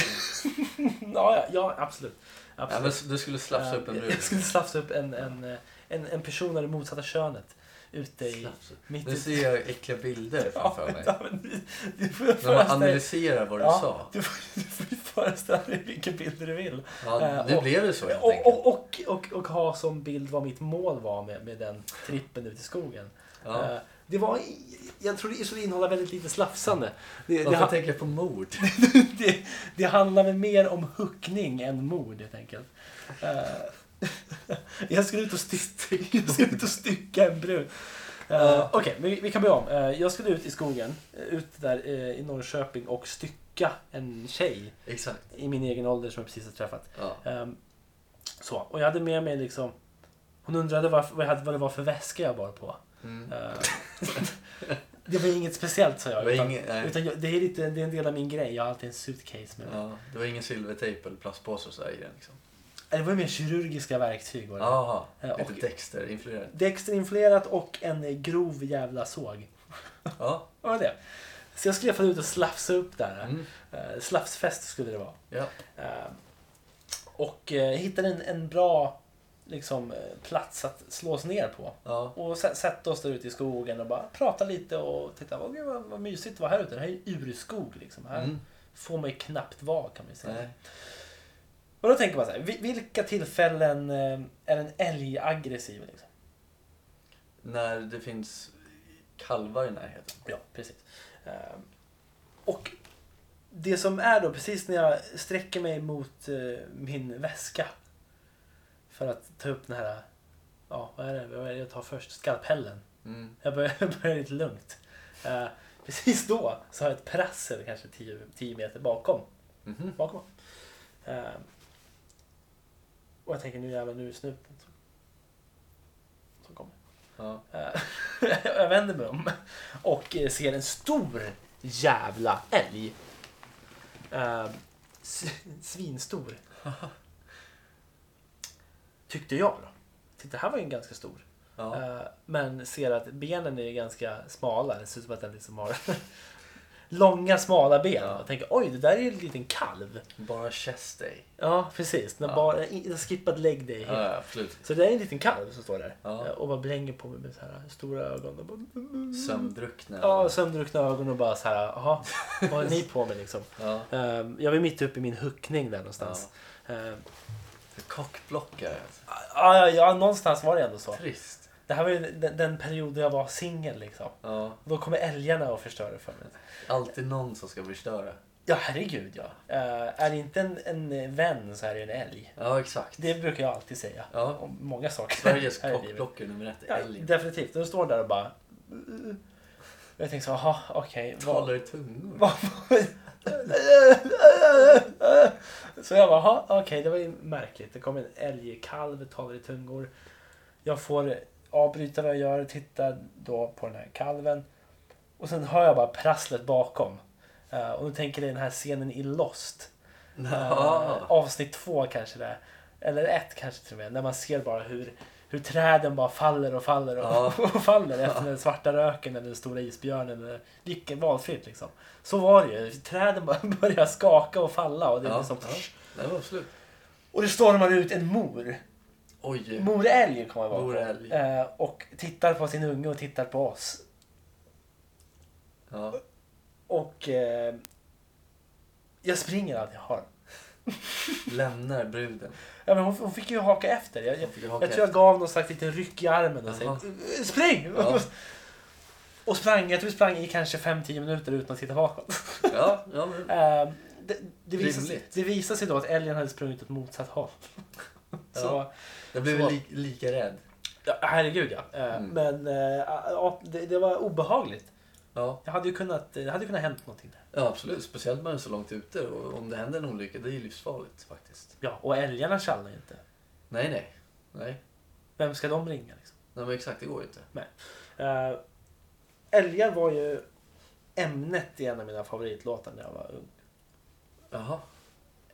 [SPEAKER 2] Ja, ja, ja absolut.
[SPEAKER 1] Ja,
[SPEAKER 2] absolut.
[SPEAKER 1] men du skulle slafsa upp en
[SPEAKER 2] Eh,
[SPEAKER 1] brud.
[SPEAKER 2] Jag skulle slafsa upp en, en, eh, en, en person av det motsatta könet. Ute i...
[SPEAKER 1] Slafsa.
[SPEAKER 2] Mitt
[SPEAKER 1] Nu
[SPEAKER 2] i-
[SPEAKER 1] ser jag äckliga bilder
[SPEAKER 2] Ja,
[SPEAKER 1] framför mig.
[SPEAKER 2] ja, men du- du får ju
[SPEAKER 1] När man
[SPEAKER 2] föreställa dig...
[SPEAKER 1] analyserar vad du
[SPEAKER 2] Ja,
[SPEAKER 1] sa.
[SPEAKER 2] Du får, du får ju föreställa dig vilken bild du vill.
[SPEAKER 1] Ja,
[SPEAKER 2] eh,
[SPEAKER 1] nu
[SPEAKER 2] och-
[SPEAKER 1] blev det så helt
[SPEAKER 2] Och,
[SPEAKER 1] enkelt.
[SPEAKER 2] och, och, och, och ha som bild vad mitt mål var med, med den trippen ut i skogen.
[SPEAKER 1] Ja.
[SPEAKER 2] Eh, Det var, i- jag tror det skulle innehålla väldigt lite slafsande. Det, det,
[SPEAKER 1] Varför
[SPEAKER 2] ha-
[SPEAKER 1] tänker jag på mord?
[SPEAKER 2] det, det handlar väl mer om huckning än mord helt enkelt. Eh, jag skulle ut och, stycka, jag skulle ut och stycka en brud. Eh,
[SPEAKER 1] Ja.
[SPEAKER 2] Okej, men vi, vi kan börja om. Eh, jag skulle ut i skogen, eh, ut där eh, i Norrköping och stycka en tjej
[SPEAKER 1] Exakt.
[SPEAKER 2] i min egen ålder som jag precis har träffat.
[SPEAKER 1] Ja.
[SPEAKER 2] Ehm, så, och jag hade med mig liksom... Hon undrade varför, vad, jag hade, vad det var för väska jag bar på.
[SPEAKER 1] Mm.
[SPEAKER 2] Ehm, det var inget speciellt sa
[SPEAKER 1] Det
[SPEAKER 2] jag.
[SPEAKER 1] var
[SPEAKER 2] utan,
[SPEAKER 1] ingen, nej.
[SPEAKER 2] utan jag, det, är lite, det är en del av min grej. Jag har alltid en suitcase med mig.
[SPEAKER 1] Ja, det var ingen silvertejp eller plastpåse och sådär i den liksom.
[SPEAKER 2] Eh, Det var ju mer kirurgiska verktyg. Var det.
[SPEAKER 1] Jaha,
[SPEAKER 2] Ja,
[SPEAKER 1] lite
[SPEAKER 2] och-
[SPEAKER 1] Dexter-influerat.
[SPEAKER 2] Dexterinflerat och en eh, grov jävla såg.
[SPEAKER 1] Ja.
[SPEAKER 2] Vad var det? Så jag skulle i alla fall ut och slafsa upp där.
[SPEAKER 1] Mm.
[SPEAKER 2] Eh, slafsfest skulle det vara.
[SPEAKER 1] ja.
[SPEAKER 2] Eh, och eh, hittade en, en bra liksom, eh, plats att slås ner på.
[SPEAKER 1] Ja.
[SPEAKER 2] Och sä- sätta oss där ute i skogen och bara prata lite och titta. Åh, gud, vad, vad mysigt det var här ute. Det här är ju urskog liksom. Här
[SPEAKER 1] Mm.
[SPEAKER 2] får man ju knappt vara kan man ju säga.
[SPEAKER 1] Nej.
[SPEAKER 2] Och då tänker man så här. vi- Vilka tillfällen eh, är en älg aggressiv? Liksom?
[SPEAKER 1] När det finns kalvar i närheten.
[SPEAKER 2] Ja, precis. Eh, Och det som är då precis när jag sträcker mig mot eh, min väska för att ta upp den här, ja vad är det, vad är det jag tar först? Skalpellen.
[SPEAKER 1] Mm.
[SPEAKER 2] Jag börjar, jag börjar lite lugnt. Eh, Precis då så har jag ett prassel kanske 10 10 meter bakom.
[SPEAKER 1] Mhm.
[SPEAKER 2] bakom. Eh, Och jag tänker nu jävlar, nu är det snuten som, som kommer.
[SPEAKER 1] Ja.
[SPEAKER 2] Eh, jag vänder mig om och eh, ser en stor jävla älg. Eh, s- Svinstor. Tyckte jag då. Titta, här var ju en ganska stor.
[SPEAKER 1] Ja.
[SPEAKER 2] Eh, Men ser att benen är ganska smala. Det ser ut som att den liksom har långa smala ben.
[SPEAKER 1] Ja.
[SPEAKER 2] Och tänker oj, det där är ju en liten kalv.
[SPEAKER 1] Bara chest day.
[SPEAKER 2] Ja, precis. Den har
[SPEAKER 1] Ja.
[SPEAKER 2] bara, den har skippat leg day helt.
[SPEAKER 1] Ja, ja, absolut.
[SPEAKER 2] Så det är en liten kalv som står där.
[SPEAKER 1] Ja.
[SPEAKER 2] Eh, Och bara blänger på mig med så här stora ögon. Och bara...
[SPEAKER 1] Sömndruckna.
[SPEAKER 2] Ja, sömndruckna ögon och bara så här, jaha, vad har ni på mig liksom?
[SPEAKER 1] ja.
[SPEAKER 2] Ehm, Jag var mitt uppe i min huckning där någonstans. Ehm,
[SPEAKER 1] Kockblockare.
[SPEAKER 2] Ja, ja, ja, någonstans var det ändå så.
[SPEAKER 1] alltså. Trist.
[SPEAKER 2] Det här var ju den, den perioden jag var singel liksom.
[SPEAKER 1] Ja.
[SPEAKER 2] Då kommer älgarna och förstör det för mig.
[SPEAKER 1] Alltid någon som ska förstöra.
[SPEAKER 2] Ja, herregud ja. Eh, är det inte en, en vän så är det en älg.
[SPEAKER 1] Ja, exakt.
[SPEAKER 2] Det brukar jag alltid säga.
[SPEAKER 1] Ja.
[SPEAKER 2] Om många saker.
[SPEAKER 1] Sveriges
[SPEAKER 2] här i livet.
[SPEAKER 1] kockblockare nummer ett,
[SPEAKER 2] Ja,
[SPEAKER 1] älgen.
[SPEAKER 2] definitivt. De står där och bara... "Uh, Jag tänker så, jaha, okej. vad-
[SPEAKER 1] Talar i tungor.
[SPEAKER 2] Vad- Så jag bara, "Jaha, okej det var ju märkligt. Det kom en älgkalv, talade i tungor. Jag får avbryta vad jag gör, titta då på den här kalven. Och sen hör jag bara prasslet bakom. Eh, och nu tänker jag den här scenen i Lost. Eh,
[SPEAKER 1] Ja.
[SPEAKER 2] avsnitt två kanske det är. Eller ett kanske till och med. När man ser bara hur, hur träden bara faller och faller och,
[SPEAKER 1] Ja.
[SPEAKER 2] och faller efter den svarta röken eller den stora isbjörnen. Eller vilken valfritt liksom. Så var det ju. Träden bara börjar skaka och falla. Och det, är
[SPEAKER 1] Ja,
[SPEAKER 2] liksom,
[SPEAKER 1] ja. Nej, men absolut.
[SPEAKER 2] och det stormar ut en mor.
[SPEAKER 1] Oj.
[SPEAKER 2] Morälg kommer jag vara
[SPEAKER 1] Morälg.
[SPEAKER 2] Eh, och tittar på sin unge och tittar på oss.
[SPEAKER 1] Ja.
[SPEAKER 2] Och eh, jag springer allt jag har.
[SPEAKER 1] Lämnar bruden.
[SPEAKER 2] Ja, men hon, hon fick ju haka efter. Jag, jag,
[SPEAKER 1] Hon fick ju
[SPEAKER 2] jag
[SPEAKER 1] haka
[SPEAKER 2] tror jag gav någon slags liten ryck i armen och
[SPEAKER 1] Jaha.
[SPEAKER 2] sa spring!
[SPEAKER 1] Ja.
[SPEAKER 2] Och sprang, jag tror vi sprang i kanske 5-10 minuter utan att titta bakåt.
[SPEAKER 1] Ja, ja men.
[SPEAKER 2] Eh, det, det, visade sig,
[SPEAKER 1] Rimligt.
[SPEAKER 2] det visade sig då att älgen hade sprungit åt motsatt håll.
[SPEAKER 1] Ja.
[SPEAKER 2] Så
[SPEAKER 1] Jag blev
[SPEAKER 2] Så.
[SPEAKER 1] li, lika rädd.
[SPEAKER 2] ja, herregud ja. Eh,
[SPEAKER 1] Mm.
[SPEAKER 2] Men eh, ja, det, det var obehagligt.
[SPEAKER 1] Ja,
[SPEAKER 2] Jag hade ju kunnat, det hade kunnat hänt någonting.
[SPEAKER 1] ja absolut. Speciellt man är så långt ute. Och om det händer en olycka, det är ju livsfarligt faktiskt.
[SPEAKER 2] Ja, och älgarna tjallar ju inte.
[SPEAKER 1] Nej, nej. Nej,
[SPEAKER 2] Vem ska de ringa? Liksom?
[SPEAKER 1] nej men exakt. Det går ju inte.
[SPEAKER 2] Eh, älgar var ju ämnet i en av mina favoritlåtar när jag var ung.
[SPEAKER 1] Jaha.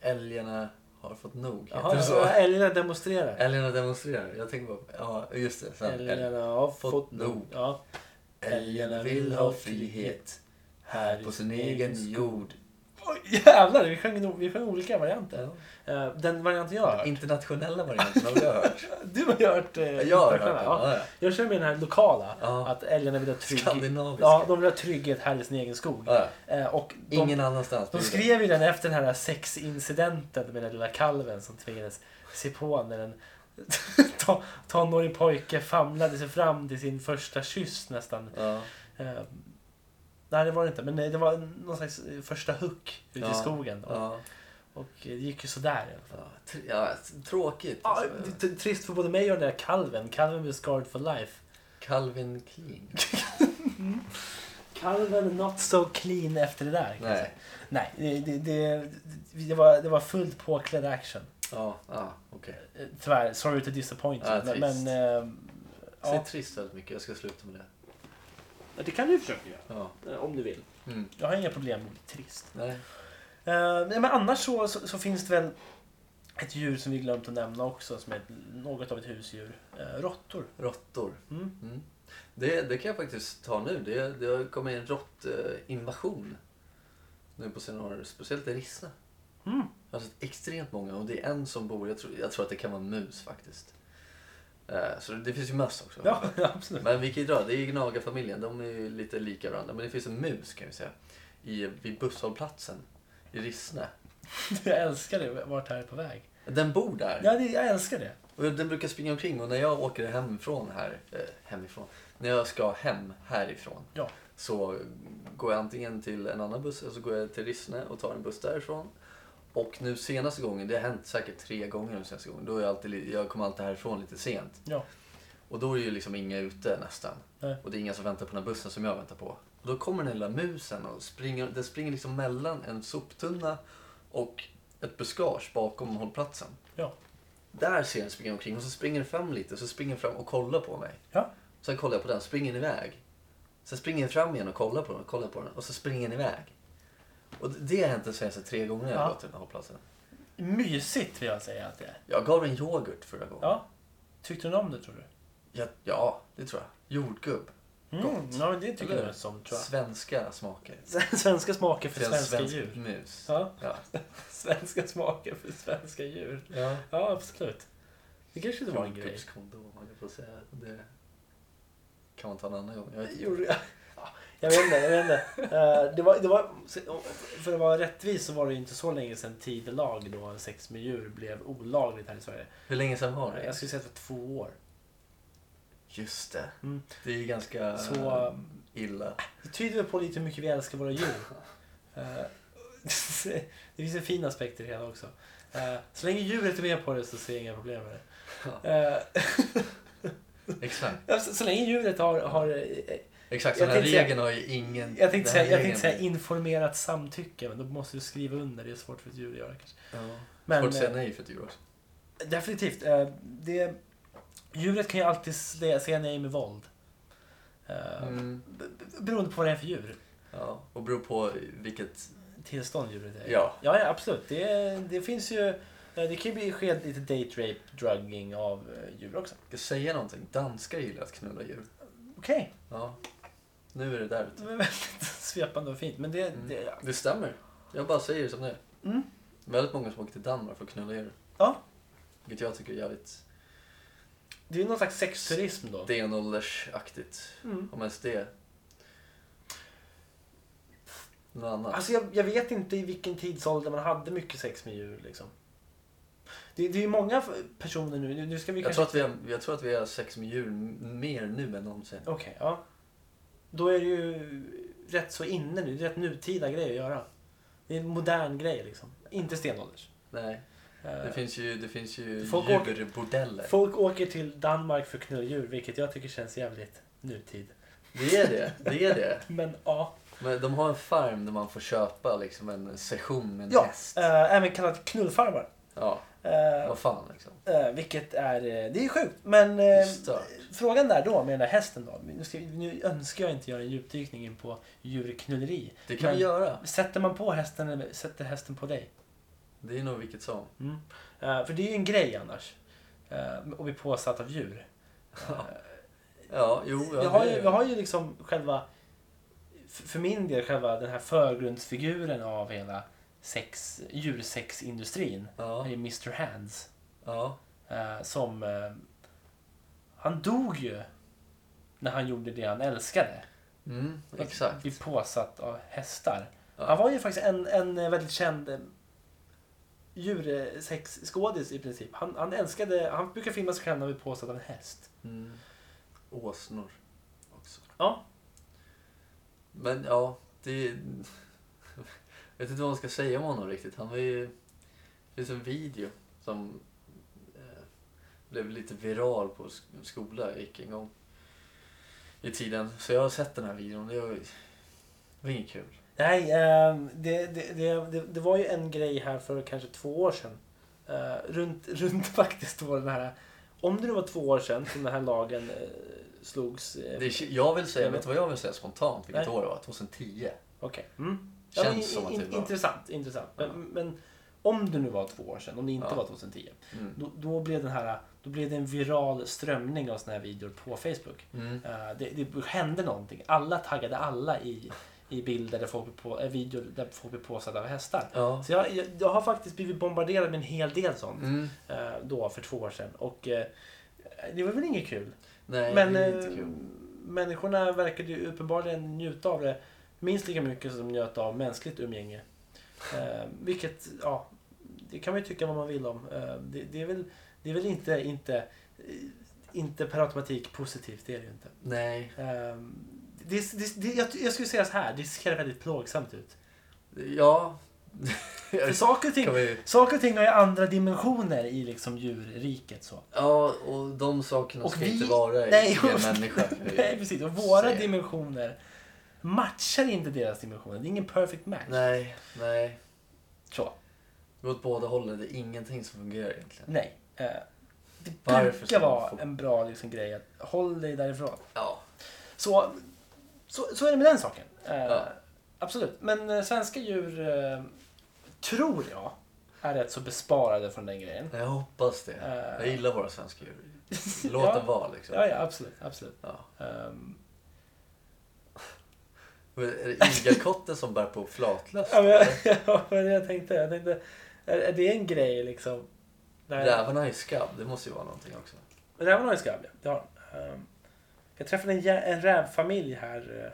[SPEAKER 1] Älgarna har fått nog. Heter
[SPEAKER 2] Jaha,
[SPEAKER 1] det så?
[SPEAKER 2] ja, älgarna demonstrerar.
[SPEAKER 1] Älgarna demonstrerar. Jag tänker bara på... Ja, just det. Sen, älg-
[SPEAKER 2] Älgarna har
[SPEAKER 1] fått
[SPEAKER 2] fått
[SPEAKER 1] nog.
[SPEAKER 2] nog. Ja.
[SPEAKER 1] älgarna vill ha frihet här på sin egen jord.
[SPEAKER 2] Oj, jävlar, vi sjöng, nog- vi sjöng olika varianter.
[SPEAKER 1] Ja.
[SPEAKER 2] Eh, den varianten jag har hört.
[SPEAKER 1] Internationella varianten har jag hört.
[SPEAKER 2] Du har ju hört. eh,
[SPEAKER 1] Jag har hört den.
[SPEAKER 2] versionerna, ja.
[SPEAKER 1] Ja, ja.
[SPEAKER 2] Jag kör med den här lokala.
[SPEAKER 1] Ja.
[SPEAKER 2] Att älgarna vill ha trygghet.
[SPEAKER 1] Skandinaviska.
[SPEAKER 2] Ja, de vill ha trygghet här i sin egen skog.
[SPEAKER 1] Ja,
[SPEAKER 2] Eh, och de,
[SPEAKER 1] Ingen annanstans. på
[SPEAKER 2] De
[SPEAKER 1] jorden.
[SPEAKER 2] skrev ju den efter den här sexincidenten med den lilla kalven som tvingades se på när en ta- tonårig pojke famlade sig fram till sin första kyss nästan.
[SPEAKER 1] Ja.
[SPEAKER 2] Eh, nej, det var det inte. Men eh, det var någon slags eh, första huck ute
[SPEAKER 1] Ja,
[SPEAKER 2] i skogen. Då.
[SPEAKER 1] Ja.
[SPEAKER 2] Och eh, det gick ju sådär i alla fall.
[SPEAKER 1] Ja, tr- ja, tråkigt.
[SPEAKER 2] Ah,
[SPEAKER 1] alltså.
[SPEAKER 2] det är trist för både mig och den där kalven. Kalven blev scarred for life.
[SPEAKER 1] Calvin Klein.
[SPEAKER 2] Kalven not so clean efter det där. kan jag
[SPEAKER 1] Nej.
[SPEAKER 2] säga. nej det, det, det, det, var, det var fullt påklädd action.
[SPEAKER 1] Ja, ja okej.
[SPEAKER 2] Eh, Tyvärr, sorry to disappoint you.
[SPEAKER 1] Ja,
[SPEAKER 2] men,
[SPEAKER 1] trist.
[SPEAKER 2] men eh,
[SPEAKER 1] Jag ser
[SPEAKER 2] ja.
[SPEAKER 1] trist väldigt mycket. Jag ska sluta med det.
[SPEAKER 2] Det kan du försöka göra.
[SPEAKER 1] Ja.
[SPEAKER 2] Om du vill.
[SPEAKER 1] Mm.
[SPEAKER 2] Jag har inga problem med att bli trist.
[SPEAKER 1] Nej.
[SPEAKER 2] Eh, nej, men annars så, så, så finns det väl ett djur som vi glömt att nämna också som är ett, något av ett husdjur. Eh, råttor.
[SPEAKER 1] Råttor.
[SPEAKER 2] Mm.
[SPEAKER 1] Mm. Det, det kan jag faktiskt ta nu. Det, det har kommit en råttinvasion nu på senare år. Speciellt i Rissa.
[SPEAKER 2] Mm.
[SPEAKER 1] Jag har sett extremt många och det är en som bor, jag tror, jag tror att det kan vara en mus faktiskt. Eh, Så det, det finns ju möss också.
[SPEAKER 2] Ja, absolut.
[SPEAKER 1] Men vi kan ju dra, det är ju Gnagarfamiljen, de är ju lite lika varandra. Men det finns en mus kan vi säga, i, vid busshållplatsen i Rissne.
[SPEAKER 2] Jag älskar det, vart det här är på väg.
[SPEAKER 1] Den bor där.
[SPEAKER 2] Ja, det, jag älskar det.
[SPEAKER 1] Och den brukar springa omkring och när jag åker hemifrån här, eh, hemifrån, när jag ska hem härifrån
[SPEAKER 2] Ja.
[SPEAKER 1] så går jag antingen till en annan buss eller så går jag till Rissne och tar en buss därifrån. Och nu senaste gången, det har hänt säkert tre gånger nu senaste gången, då är jag, alltid, li- jag kommer alltid härifrån lite sent.
[SPEAKER 2] Ja.
[SPEAKER 1] Och då är ju liksom inga ute nästan.
[SPEAKER 2] Nej.
[SPEAKER 1] Och det är inga som väntar på den här bussen som jag väntar på. Och då kommer den lilla musen och springer, den springer liksom mellan en soptunna och ett buskage bakom hållplatsen.
[SPEAKER 2] Ja.
[SPEAKER 1] Där ser jag den springa omkring och så springer den fram lite och så springer den fram och kollar på mig.
[SPEAKER 2] Ja.
[SPEAKER 1] Sen kollar jag på den, springer den iväg. Sen springer den fram igen och kollar på den, och kollar på den och så springer den iväg. Och det- det har hänt de senaste tre gånger jag
[SPEAKER 2] Ja.
[SPEAKER 1] har gått till den här hållplatsen.
[SPEAKER 2] Mysigt vill jag säga att det är.
[SPEAKER 1] Jag gav den yoghurt förra gången.
[SPEAKER 2] Ja. Tyckte du om det tror du?
[SPEAKER 1] Ja, ja, det tror jag. Jordgubb.
[SPEAKER 2] Mm. Ja, men det tycker
[SPEAKER 1] Eller?
[SPEAKER 2] jag som tror
[SPEAKER 1] Svenska smaker.
[SPEAKER 2] jag. Svenska smaker för
[SPEAKER 1] Till en
[SPEAKER 2] svenska
[SPEAKER 1] svensk
[SPEAKER 2] djur.
[SPEAKER 1] mus.
[SPEAKER 2] Ja.
[SPEAKER 1] Ja.
[SPEAKER 2] Svenska smaker för svenska djur.
[SPEAKER 1] ja.
[SPEAKER 2] Ja, absolut. Det kanske
[SPEAKER 1] Det
[SPEAKER 2] inte var en grej.
[SPEAKER 1] jag får säga. Det kan man ta en annan gång. Jag vet inte.
[SPEAKER 2] Gjorde- Ja, Jag vet inte, jag vet inte. Eh, Det var, det var, för att vara rättvis så var det ju inte så länge sedan tidelag då sex med djur blev olagligt här i Sverige.
[SPEAKER 1] Hur länge sedan var det?
[SPEAKER 2] Jag skulle säga att det var två år.
[SPEAKER 1] Just det.
[SPEAKER 2] Mm.
[SPEAKER 1] Det är ju ganska
[SPEAKER 2] Så-
[SPEAKER 1] eh, illa.
[SPEAKER 2] Det tyder väl på lite hur mycket vi älskar våra djur. Eh, Det finns en fin aspekt i det hela också. Eh, Så länge djuret är med på det så ser jag inga problem med det. Eh,
[SPEAKER 1] Exakt.
[SPEAKER 2] ja, Eh, Så, så länge djuret har, har eh,
[SPEAKER 1] Exakt, så
[SPEAKER 2] Jag
[SPEAKER 1] den här
[SPEAKER 2] tänkte säga-
[SPEAKER 1] regeln har ju ingen...
[SPEAKER 2] jag tänkte,
[SPEAKER 1] den
[SPEAKER 2] säga,
[SPEAKER 1] här
[SPEAKER 2] jag tänkte säga
[SPEAKER 1] regeln-
[SPEAKER 2] informerat samtycke, men då måste du skriva under. Det är svårt för ett djur att göra kanske.
[SPEAKER 1] Ja.
[SPEAKER 2] Men,
[SPEAKER 1] Svårt att
[SPEAKER 2] eh,
[SPEAKER 1] säga nej för ett djur också.
[SPEAKER 2] Definitivt. Eh, Det, Djuret kan ju alltid se säga nej med våld. Eh,
[SPEAKER 1] Mm.
[SPEAKER 2] b- b- Beroende på vad det är för djur.
[SPEAKER 1] Ja, och beror på vilket...
[SPEAKER 2] Tillstånd djuret är i.
[SPEAKER 1] Ja.
[SPEAKER 2] ja, ja, absolut. Det, det finns ju... eh, Det kan ju bli- ske lite date rape, drugging av eh, djur också.
[SPEAKER 1] Ska jag säga någonting? Danskar gillar att knulla djur.
[SPEAKER 2] Okej.
[SPEAKER 1] Ja. Nu är det där ute.
[SPEAKER 2] Det var väldigt svepande och fint. Men det...
[SPEAKER 1] Mm.
[SPEAKER 2] det
[SPEAKER 1] Det stämmer. Jag bara säger som det är.
[SPEAKER 2] Mm.
[SPEAKER 1] Väldigt många som åker till Danmark för att knulla djur.
[SPEAKER 2] Ja.
[SPEAKER 1] Vilket jag tycker är jävligt
[SPEAKER 2] Det är ju någon slags sexturism då.
[SPEAKER 1] stenåldersaktigt.
[SPEAKER 2] Mm.
[SPEAKER 1] Om ens det. Något annat.
[SPEAKER 2] Alltså jag, jag vet inte i vilken tidsålder man hade mycket sex med djur liksom. Det, det är ju många f- personer nu. Nu- Nu ska vi
[SPEAKER 1] Jag
[SPEAKER 2] kanske...
[SPEAKER 1] tror, att vi har, jag tror att vi har sex med djur m- mer nu än någonsin.
[SPEAKER 2] Okej, ja. Då är det ju rätt så inne nu. Det är rätt nutida grej att göra. Det är en modern grej liksom. Inte stenålders.
[SPEAKER 1] Nej,
[SPEAKER 2] Eh,
[SPEAKER 1] det finns ju, det finns ju
[SPEAKER 2] Folk åker-
[SPEAKER 1] djurbordeller.
[SPEAKER 2] Folk åker till Danmark för knulldjur, vilket jag tycker känns jävligt nutid.
[SPEAKER 1] Det är det, det är det.
[SPEAKER 2] Men ja.
[SPEAKER 1] Men de har en farm där man får köpa liksom en session med en
[SPEAKER 2] ja
[SPEAKER 1] häst.
[SPEAKER 2] eh, även kallat knullfarmar.
[SPEAKER 1] Ja,
[SPEAKER 2] Eh,
[SPEAKER 1] vad fan liksom.
[SPEAKER 2] eh, vilket är... eh, Det är sjukt. Men
[SPEAKER 1] Det är
[SPEAKER 2] eh,
[SPEAKER 1] stört.
[SPEAKER 2] frågan där då med den där hästen då. Nu, ska, nu önskar jag inte göra en djupdykning in på djurknulleri.
[SPEAKER 1] Det kan
[SPEAKER 2] Men-
[SPEAKER 1] vi göra.
[SPEAKER 2] Sätter man på hästen eller sätter hästen på dig?
[SPEAKER 1] Det är nog vilket som.
[SPEAKER 2] Mm. Eh, för det är ju en grej annars. Uh, och bli påsatt av djur. Eh,
[SPEAKER 1] Ja, jo. ja,
[SPEAKER 2] jag, har ju,
[SPEAKER 1] det-
[SPEAKER 2] jag har ju liksom själva, f- för min del, själva den här förgrundsfiguren av hela sex, djursexindustrin.
[SPEAKER 1] Ja,
[SPEAKER 2] Det är Mr Hands.
[SPEAKER 1] ja.
[SPEAKER 2] eh, som... eh, han dog ju när han gjorde det han älskade.
[SPEAKER 1] Mm,
[SPEAKER 2] Att
[SPEAKER 1] exakt.
[SPEAKER 2] Bli påsatt av hästar.
[SPEAKER 1] Ja.
[SPEAKER 2] Han var ju faktiskt en, en väldigt känd eh, djursexskådis i princip. Han, han älskade, han brukar filma sig själv när han blir påsatt av en häst.
[SPEAKER 1] Mm. Åsnor också.
[SPEAKER 2] Ja.
[SPEAKER 1] Men ja, det... Jag vet inte vad man ska säga om honom riktigt. Han var ju... Det finns en video som eh, blev lite viral på sk- skola jag gick en gång i tiden. Så jag har sett den här videon. Det var, det var inget kul.
[SPEAKER 2] Nej, eh, det, det, det, det, det var ju en grej här för kanske två år sedan. Eh, runt, runt faktiskt då den här... Om det nu var två år sedan som den här lagen eh, slogs... eh,
[SPEAKER 1] Det, är- jag vill säga, vet du vad jag vill säga spontant? Vilket
[SPEAKER 2] Nej.
[SPEAKER 1] år det var? 2010.
[SPEAKER 2] Okej. Mm. Ja,
[SPEAKER 1] Känns
[SPEAKER 2] men
[SPEAKER 1] som att
[SPEAKER 2] in,
[SPEAKER 1] det var...
[SPEAKER 2] Intressant, intressant.
[SPEAKER 1] Ja.
[SPEAKER 2] Men, men om det nu var två år sedan, om det inte
[SPEAKER 1] Ja.
[SPEAKER 2] var 2010.
[SPEAKER 1] Mm.
[SPEAKER 2] Då, då, blev den här, då blev det en viral strömning av såna här videor på Facebook.
[SPEAKER 1] Mm.
[SPEAKER 2] Eh, det, det hände någonting. Alla taggade alla i, i bilder där folk blev på, eh, videor där folk blev påsatta av hästar.
[SPEAKER 1] Ja.
[SPEAKER 2] Så jag, jag, jag har faktiskt blivit bombarderad med en hel del sånt.
[SPEAKER 1] Mm.
[SPEAKER 2] eh, Då för två år sedan. Och eh, det var väl inget kul.
[SPEAKER 1] Nej,
[SPEAKER 2] Men
[SPEAKER 1] det är
[SPEAKER 2] eh,
[SPEAKER 1] inte kul.
[SPEAKER 2] människorna verkade ju uppenbarligen njuta av det minst lika mycket som de njöt av mänskligt umgänge. Eh, vilket, ja, det kan man ju tycka vad man vill om. Eh, det, det, är väl, det är väl inte, inte, eh, inte per automatik positivt, det är det ju inte.
[SPEAKER 1] Nej,
[SPEAKER 2] Eh, det, det, det, jag, jag skulle säga så här, det ser väldigt plågsamt ut.
[SPEAKER 1] ja.
[SPEAKER 2] För saker och ting,
[SPEAKER 1] Kan vi...
[SPEAKER 2] saker och ting har ju andra dimensioner i liksom djurriket. Så.
[SPEAKER 1] Ja, och de sakerna
[SPEAKER 2] Och
[SPEAKER 1] ska
[SPEAKER 2] vi-
[SPEAKER 1] inte vara i
[SPEAKER 2] Nej,
[SPEAKER 1] en
[SPEAKER 2] och-
[SPEAKER 1] människa.
[SPEAKER 2] Nej, Eh, precis. Och våra
[SPEAKER 1] Se.
[SPEAKER 2] dimensioner matchar inte deras dimensioner. Det är ingen perfect match.
[SPEAKER 1] Nej, nej.
[SPEAKER 2] Så.
[SPEAKER 1] Det går åt båda hållen. Det är ingenting som fungerar egentligen.
[SPEAKER 2] Nej. Eh, det
[SPEAKER 1] Varför
[SPEAKER 2] brukar
[SPEAKER 1] ska man
[SPEAKER 2] vara
[SPEAKER 1] få-
[SPEAKER 2] en bra liksom, grej att håll dig därifrån.
[SPEAKER 1] Ja.
[SPEAKER 2] Så, så, så är det med den saken. Eh,
[SPEAKER 1] Ja.
[SPEAKER 2] Absolut. Men eh, svenska djur eh, tror jag är rätt så besparade från den grejen.
[SPEAKER 1] Jag hoppas det.
[SPEAKER 2] Eh.
[SPEAKER 1] Jag gillar våra svenska djur. Låt
[SPEAKER 2] Ja.
[SPEAKER 1] dem vara liksom.
[SPEAKER 2] Ja, ja absolut. absolut.
[SPEAKER 1] Ja.
[SPEAKER 2] Ehm,
[SPEAKER 1] Men Är det igelkotten som bär på flatlöst?
[SPEAKER 2] ja, men jag, ja, men jag tänkte, jag tänkte är, är det en grej liksom? Där-
[SPEAKER 1] Rävarna är ju skabb. Det måste ju vara någonting också.
[SPEAKER 2] Räven har en skabb, ja. det har han. Ehm, Jag träffade en, jä- en rävfamilj här. eh.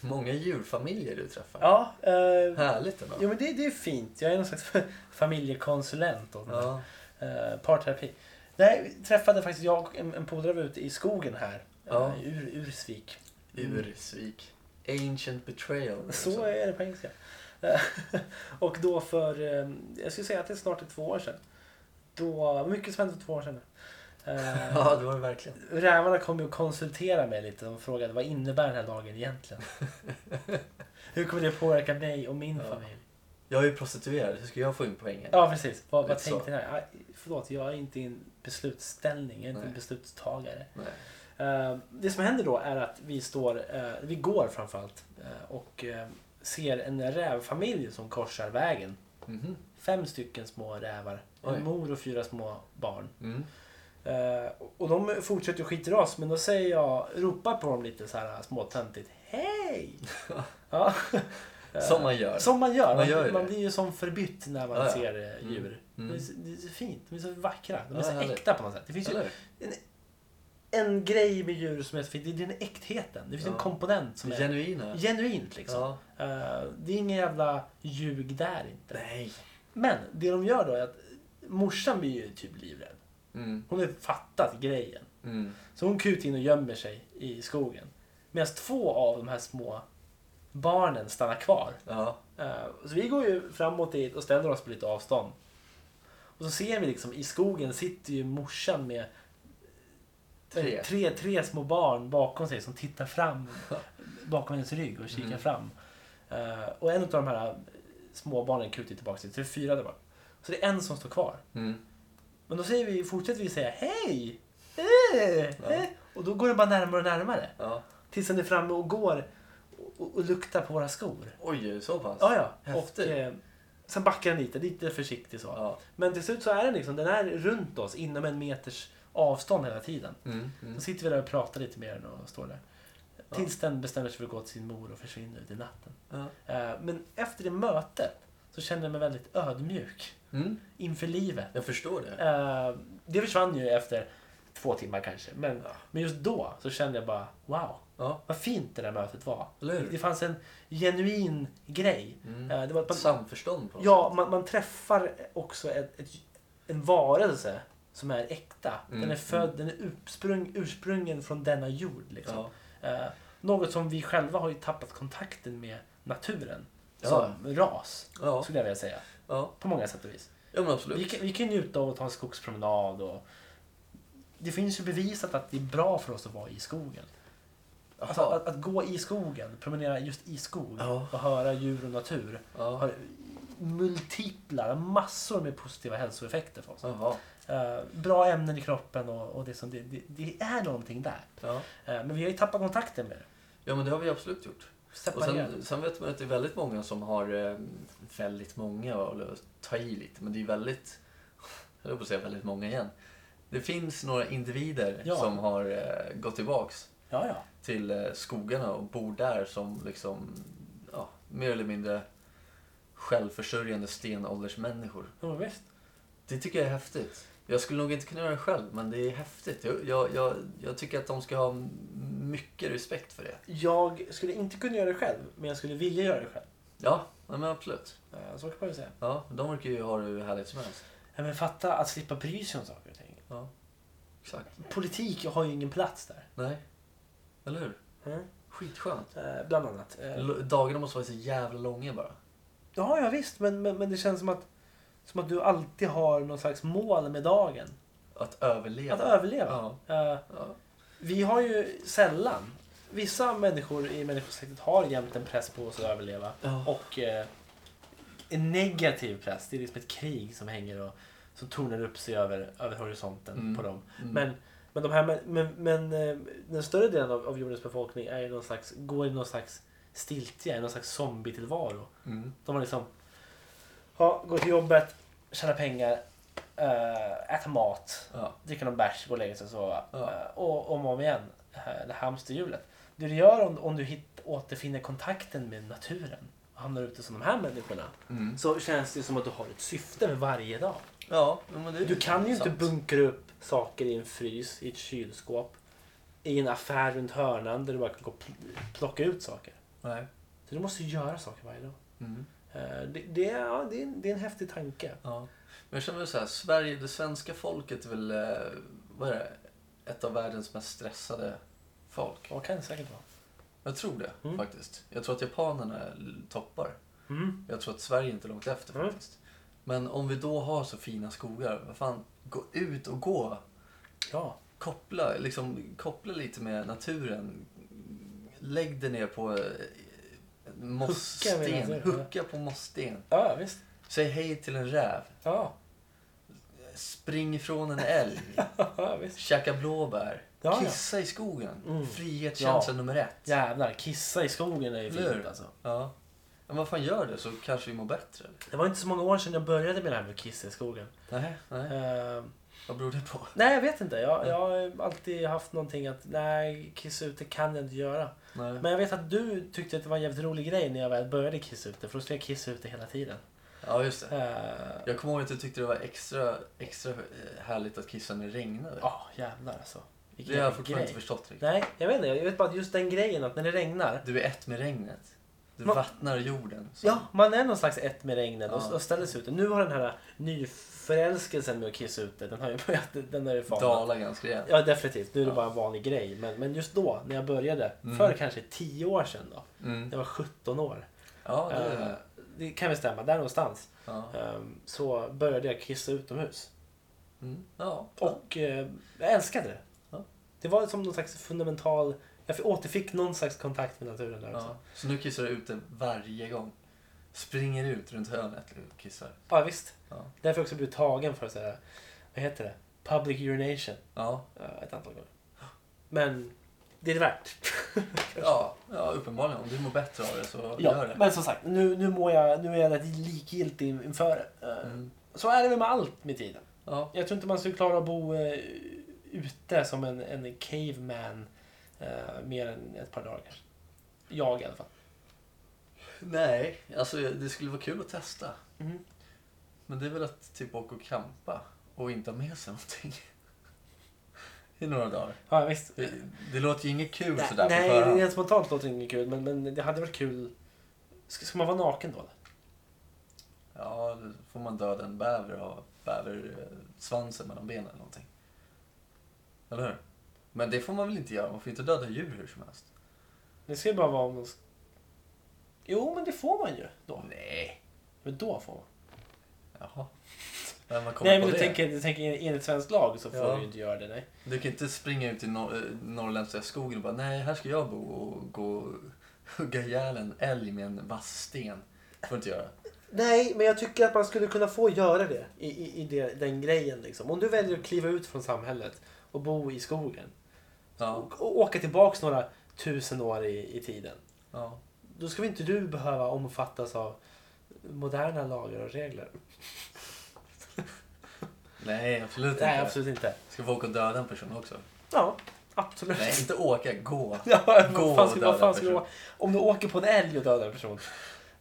[SPEAKER 1] Många djurfamiljer du träffar.
[SPEAKER 2] Ja, eh,
[SPEAKER 1] Härligt ändå.
[SPEAKER 2] jo men det, det är fint. Jag är någon slags familjekonsulent. Och ja.
[SPEAKER 1] Ja.
[SPEAKER 2] parterapi. Nej, vi träffade faktiskt jag och en, en polare var ute i skogen här.
[SPEAKER 1] Ja.
[SPEAKER 2] Ja. Ur, Ursvik.
[SPEAKER 1] Ursvik. Ancient betrayal.
[SPEAKER 2] Så är det på engelska. Eh, och då för, eh, jag skulle säga att det är snart är två år sedan. Då, mycket som hände för två år sedan. Eh,
[SPEAKER 1] Ja, det var det verkligen.
[SPEAKER 2] Rävarna kom ju och konsulterade mig lite. De frågade vad innebär den här lagen egentligen? Hur kommer det påverka mig och min
[SPEAKER 1] Ja.
[SPEAKER 2] familj?
[SPEAKER 1] Jag är ju prostituerad, hur ska jag få in poängen?
[SPEAKER 2] Ja, precis. Vad, vad
[SPEAKER 1] Lite så.
[SPEAKER 2] tänkte ni här? Aj, Förlåt, jag är inte i en beslutsställning. Jag är inte en
[SPEAKER 1] Nej.
[SPEAKER 2] beslutstagare.
[SPEAKER 1] Nej.
[SPEAKER 2] Eh, Det som händer då är att vi står, eh, vi går framförallt eh, och eh, ser en rävfamilj som korsar vägen.
[SPEAKER 1] Mhm.
[SPEAKER 2] Fem stycken små rävar.
[SPEAKER 1] Oj.
[SPEAKER 2] En mor och fyra små barn.
[SPEAKER 1] Mm.
[SPEAKER 2] Eh, Och de fortsätter att skita i oss men då säger jag, ropar på dem lite så här småtöntigt. Hej! ja.
[SPEAKER 1] Eh, Som man gör.
[SPEAKER 2] Som man gör.
[SPEAKER 1] Man
[SPEAKER 2] Man,
[SPEAKER 1] gör ju
[SPEAKER 2] man
[SPEAKER 1] det.
[SPEAKER 2] blir ju som förbytt när man
[SPEAKER 1] Ja, ja.
[SPEAKER 2] ser eh,
[SPEAKER 1] Mm.
[SPEAKER 2] djur.
[SPEAKER 1] Mm.
[SPEAKER 2] Det, är så, det är så fint. De är så vackra. De är
[SPEAKER 1] Ja,
[SPEAKER 2] så
[SPEAKER 1] härligt.
[SPEAKER 2] äkta på något sätt. Det finns ju
[SPEAKER 1] Eller?
[SPEAKER 2] en grej med djur som är så fint. Det är den äktheten. Det finns en
[SPEAKER 1] Ja.
[SPEAKER 2] komponent som är
[SPEAKER 1] Genuina.
[SPEAKER 2] genuint liksom.
[SPEAKER 1] Ja.
[SPEAKER 2] Eh, det är ingen jävla ljug där inte.
[SPEAKER 1] Nej.
[SPEAKER 2] Men det de gör då är att morsan blir ju typ livrädd.
[SPEAKER 1] Mm.
[SPEAKER 2] Hon har ju fattat grejen.
[SPEAKER 1] Mm.
[SPEAKER 2] Så hon kutar in och gömmer sig i skogen. Medan två av de här små barnen stannar kvar.
[SPEAKER 1] Ja.
[SPEAKER 2] Eh, Så vi går ju framåt dit och ställer oss på lite avstånd. Och så ser vi liksom i skogen sitter ju morsan med Eh,
[SPEAKER 1] Tre.
[SPEAKER 2] tre, tre små barn bakom sig som tittar fram bakom hennes rygg och kikar
[SPEAKER 1] Mm.
[SPEAKER 2] fram. Eh, och en av de här småbarnen kutar tillbaka sig, så det är fyra där bak. Så det är en som står kvar.
[SPEAKER 1] Mm.
[SPEAKER 2] Men då säger vi, fortsätter vi säga hej! Eh, eh.
[SPEAKER 1] Ja.
[SPEAKER 2] Och då går den bara närmare och närmare.
[SPEAKER 1] Ja.
[SPEAKER 2] Tills den är framme och går och, och, och luktar på våra skor.
[SPEAKER 1] Oj, är det så pass?
[SPEAKER 2] Ja, ja. Och,
[SPEAKER 1] Häftigt.
[SPEAKER 2] eh, sen backar den lite, lite försiktigt så.
[SPEAKER 1] Ja.
[SPEAKER 2] Men till slut så är den liksom, den är runt oss inom en meters avstånd hela tiden.
[SPEAKER 1] Mm. Mm.
[SPEAKER 2] Så sitter vi där och pratar lite mer och står där. Tills den bestämmer sig för att gå till sin mor och försvinner ut i natten.
[SPEAKER 1] Ja.
[SPEAKER 2] Eh, Men efter det mötet så kände jag mig väldigt ödmjuk
[SPEAKER 1] Mm.
[SPEAKER 2] inför livet.
[SPEAKER 1] Jag förstår det.
[SPEAKER 2] Eh, Det försvann ju efter två timmar kanske. Men, men just då så kände jag bara wow,
[SPEAKER 1] Ja.
[SPEAKER 2] vad fint det där mötet var.
[SPEAKER 1] Eller hur?
[SPEAKER 2] Det fanns en genuin grej.
[SPEAKER 1] Mm.
[SPEAKER 2] Eh, Det var att man,
[SPEAKER 1] Samförstånd på något
[SPEAKER 2] Ja, man, man träffar också ett, ett, en varelse som är äkta. Den
[SPEAKER 1] Mm,
[SPEAKER 2] är född, den är ursprung, ursprungen från denna jord.
[SPEAKER 1] sätt.
[SPEAKER 2] Liksom.
[SPEAKER 1] Ja.
[SPEAKER 2] Eh, något som vi själva har ju tappat kontakten med naturen
[SPEAKER 1] Ja.
[SPEAKER 2] som ras,
[SPEAKER 1] Ja.
[SPEAKER 2] skulle jag vilja säga.
[SPEAKER 1] Ja.
[SPEAKER 2] På många sätt och vis.
[SPEAKER 1] ja, men absolut.
[SPEAKER 2] Vi kan, vi kan njuta av att ta en skogspromenad och det finns ju bevisat att det är bra för oss att vara i skogen. Alltså,
[SPEAKER 1] Jaha.
[SPEAKER 2] att, att gå i skogen, promenera just i skog
[SPEAKER 1] Ja.
[SPEAKER 2] och höra djur och natur
[SPEAKER 1] Ja.
[SPEAKER 2] har multipla, massor med positiva hälsoeffekter för oss.
[SPEAKER 1] Jaha.
[SPEAKER 2] Eh, bra ämnen i kroppen och, och det, som det, det, det är någonting där.
[SPEAKER 1] Ja.
[SPEAKER 2] Eh, men vi har ju tappat kontakten med det.
[SPEAKER 1] ja, men det har vi absolut gjort. Och
[SPEAKER 2] Separerat.
[SPEAKER 1] sen, sen vet man att det är väldigt många som har, eh, väldigt många, eller ta i lite, men det är väldigt, jag höll på att säga väldigt många igen. Det finns några individer
[SPEAKER 2] Ja.
[SPEAKER 1] som har eh, gått tillbaks
[SPEAKER 2] Ja, ja.
[SPEAKER 1] till eh, skogarna och bor där som liksom, ja, mer eller mindre självförsörjande stenåldersmänniskor.
[SPEAKER 2] Jo, visst.
[SPEAKER 1] Det tycker jag är häftigt. Jag skulle nog inte kunna göra det själv, men det är häftigt. Jag, jag, jag, jag tycker att de ska ha m- mycket respekt för det.
[SPEAKER 2] Jag skulle inte kunna göra det själv, men jag skulle vilja göra det själv.
[SPEAKER 1] Ja, ja, men absolut.
[SPEAKER 2] Eh, så kan man ju säga.
[SPEAKER 1] Ja, de verkar ju ha det hur härligt som helst.
[SPEAKER 2] Ja, men fatta att slippa bry sig om saker och ting.
[SPEAKER 1] Ja, exakt.
[SPEAKER 2] Politik har ju ingen plats där.
[SPEAKER 1] Nej, eller hur?
[SPEAKER 2] Mm.
[SPEAKER 1] Skitskönt.
[SPEAKER 2] Eh, bland annat. Eh,
[SPEAKER 1] L- dagarna måste vara så jävla långa bara.
[SPEAKER 2] ja, ja, visst. Men, men, men det känns som att, som att du alltid har någon slags mål med dagen.
[SPEAKER 1] Att överleva.
[SPEAKER 2] Att överleva. Eh,
[SPEAKER 1] Ja.
[SPEAKER 2] Vi har ju sällan, vissa människor i människosläktet har jämt en press på oss att överleva.
[SPEAKER 1] Ja.
[SPEAKER 2] Och eh, en negativ press, det är liksom ett krig som hänger och som tornar upp sig över, över horisonten
[SPEAKER 1] Mm.
[SPEAKER 2] på dem.
[SPEAKER 1] Mm.
[SPEAKER 2] Men, men, de här, men, men, men eh, den större delen av, av jordens befolkning är ju någon slags, går i någon slags stiltje, i någon slags zombietillvaro.
[SPEAKER 1] Mm.
[SPEAKER 2] De har liksom ja, gå till jobbet, tjäna pengar, eh, äta mat
[SPEAKER 1] Ja.
[SPEAKER 2] dricka någon bärs, gå och lägga sig och sova.
[SPEAKER 1] Ja.
[SPEAKER 2] Eh, Och om och om igen, det här det här hamsterhjulet. Det du gör om, om du hit, återfinner kontakten med naturen och hamnar ute som de här människorna
[SPEAKER 1] Mm.
[SPEAKER 2] så känns det som att du har ett syfte med varje dag.
[SPEAKER 1] ja, men det är
[SPEAKER 2] Du kan ju inte
[SPEAKER 1] sant.
[SPEAKER 2] bunkra upp saker i en frys, i ett kylskåp, i en affär runt hörnan där du bara kan gå och pl- plocka ut saker.
[SPEAKER 1] Nej.
[SPEAKER 2] Så du måste göra saker varje dag.
[SPEAKER 1] Mm.
[SPEAKER 2] Eh, Det, det, är, ja, det, är, en- det är en häftig tanke.
[SPEAKER 1] Ja. Men jag känner väl så här, Sverige, det svenska folket är väl eh, vad är det, ett av världens mest stressade folk.
[SPEAKER 2] Ja, kan det säkert vara.
[SPEAKER 1] Jag tror det
[SPEAKER 2] Mm.
[SPEAKER 1] faktiskt. Jag tror att japanerna l- toppar. Jag tror att Sverige inte är långt efter
[SPEAKER 2] Mm.
[SPEAKER 1] faktiskt. Men om vi då har så fina skogar, vad fan, gå ut och gå.
[SPEAKER 2] Ja.
[SPEAKER 1] Koppla, liksom, koppla lite med naturen. Lägg dig ner på eh, mosssten.
[SPEAKER 2] menar
[SPEAKER 1] Hucka,
[SPEAKER 2] du?
[SPEAKER 1] på mosssten.
[SPEAKER 2] Ja, visst.
[SPEAKER 1] Säg hej till en räv.
[SPEAKER 2] Ja,
[SPEAKER 1] Spring ifrån en älg.
[SPEAKER 2] ja visst.
[SPEAKER 1] Käka blåbär.
[SPEAKER 2] Ja, ja.
[SPEAKER 1] Kissa i skogen.
[SPEAKER 2] Mm.
[SPEAKER 1] Frihetskänslan nummer ett.
[SPEAKER 2] Jävlar, kissa i skogen är ju
[SPEAKER 1] Eller
[SPEAKER 2] fint
[SPEAKER 1] hur?
[SPEAKER 2] alltså.
[SPEAKER 1] Ja. Men vad fan gör det så kanske vi mår bättre?
[SPEAKER 2] Det var inte så många år sedan jag började med det här med att kissa i skogen.
[SPEAKER 1] Nej, nej.
[SPEAKER 2] Eh,
[SPEAKER 1] Vad beror det på?
[SPEAKER 2] nej, jag vet inte. Jag, jag har alltid haft någonting att nej, kissa ute kan jag inte göra.
[SPEAKER 1] Nej.
[SPEAKER 2] Men jag vet att du tyckte att det var en jävligt rolig grej när jag väl började kissa ute. För då skulle jag kissa ute hela tiden.
[SPEAKER 1] Ja, just det.
[SPEAKER 2] Eh,
[SPEAKER 1] Jag kommer ihåg att du tyckte det var extra, extra eh, härligt att kissa när det regnade.
[SPEAKER 2] Ja, jävlar alltså. Vilken
[SPEAKER 1] det har jag
[SPEAKER 2] jävla
[SPEAKER 1] fortfarande
[SPEAKER 2] grej.
[SPEAKER 1] inte förstått riktigt.
[SPEAKER 2] Nej, jag vet inte. Jag vet bara att just den grejen att när det regnar.
[SPEAKER 1] Du är ett med regnet. Du
[SPEAKER 2] Man-
[SPEAKER 1] vattnar jorden. Så-
[SPEAKER 2] Ja, man är någon slags ett med regnet och,
[SPEAKER 1] Ja.
[SPEAKER 2] och ställer sig ute. Nu har den här nyförälskelsen med att kissa ute, den har ju börjat, den har ju falnat.
[SPEAKER 1] Dala ganska rejält.
[SPEAKER 2] Ja, definitivt. Nu är det
[SPEAKER 1] Ja.
[SPEAKER 2] bara en vanlig grej. Men, men just då, när jag började,
[SPEAKER 1] Mm.
[SPEAKER 2] för kanske 10 år sedan då.
[SPEAKER 1] Mm.
[SPEAKER 2] Jag var 17 år.
[SPEAKER 1] Ja, det
[SPEAKER 2] Eh,
[SPEAKER 1] är
[SPEAKER 2] det kan väl stämma, där någonstans.
[SPEAKER 1] ja.
[SPEAKER 2] eh, Så började jag kissa utomhus.
[SPEAKER 1] Mm. ja.
[SPEAKER 2] Och eh, jag älskade det.
[SPEAKER 1] Ja.
[SPEAKER 2] Det var som någon slags fundamental... Jag fick- återfick någon slags kontakt med naturen där också.
[SPEAKER 1] ja. Så nu kissar du ute varje gång. Springer ut runt hörnet och kissar.
[SPEAKER 2] Ja, visst.
[SPEAKER 1] Ja.
[SPEAKER 2] Därför har jag också blivit tagen för så här, vad heter det? Public urination.
[SPEAKER 1] Ja,
[SPEAKER 2] eh, Ett antal gånger. Men det är det värt.
[SPEAKER 1] ja, ja uppenbarligen. Om du mår bättre av det så gör det.
[SPEAKER 2] men som sagt, nu, nu, mår jag, nu är jag rätt likgiltig inför det. Eh,
[SPEAKER 1] Mm.
[SPEAKER 2] Så är det väl med allt med tiden.
[SPEAKER 1] Ja.
[SPEAKER 2] Jag tror inte man skulle klara att bo eh, ute som en, en caveman eh, mer än ett par dagar. Jag i alla fall.
[SPEAKER 1] Nej, alltså det skulle vara kul att testa.
[SPEAKER 2] Mhm.
[SPEAKER 1] Men det är väl att typ åka och campa och inte ha med sig någonting. I några dagar.
[SPEAKER 2] Ja, visst.
[SPEAKER 1] Det, det låter ju inget kul
[SPEAKER 2] Nej,
[SPEAKER 1] sådär
[SPEAKER 2] nej
[SPEAKER 1] på förhand.
[SPEAKER 2] rent spontant låter det inget kul, men, men det hade varit kul. Ska, ska man vara naken då? eller?
[SPEAKER 1] Ja, då får man döda en bäver och ha bäversvansen mellan benen eller någonting. Eller hur? Men det får man väl inte göra? Man får inte döda djur hur som helst.
[SPEAKER 2] Det ska ju bara vara om de... ska- Jo, men det får man ju då.
[SPEAKER 1] Nej.
[SPEAKER 2] Men då får man.
[SPEAKER 1] Jaha. Vem har kommit
[SPEAKER 2] Nej,
[SPEAKER 1] på
[SPEAKER 2] men
[SPEAKER 1] det?
[SPEAKER 2] du tänker, du tänker enligt svensk lag så får
[SPEAKER 1] Ja.
[SPEAKER 2] du ju inte göra det. Nej.
[SPEAKER 1] Du kan inte springa ut i nor- eh, norrländska skogen och bara nej, här ska jag bo och gå och hugga ihjäl en älg med en vasssten. får du inte göra.
[SPEAKER 2] nej, men jag tycker att man skulle kunna få göra det i, i, i det, den grejen. Liksom. Om du väljer att kliva ut från samhället och bo i skogen
[SPEAKER 1] Ja,
[SPEAKER 2] och, och åka tillbaks några tusen år i, i tiden.
[SPEAKER 1] ja.
[SPEAKER 2] Då ska väl inte du behöva omfattas av moderna lagar och regler?
[SPEAKER 1] Nej, absolut inte.
[SPEAKER 2] Nej, absolut inte.
[SPEAKER 1] Ska få åka och döda en person också?
[SPEAKER 2] Ja, absolut.
[SPEAKER 1] Nej, inte åka, gå.
[SPEAKER 2] Ja,
[SPEAKER 1] Gå
[SPEAKER 2] vad fan
[SPEAKER 1] och
[SPEAKER 2] ska,
[SPEAKER 1] döda
[SPEAKER 2] vad fan ska
[SPEAKER 1] en
[SPEAKER 2] du,
[SPEAKER 1] person.
[SPEAKER 2] om du åker på en älg och dödar en person.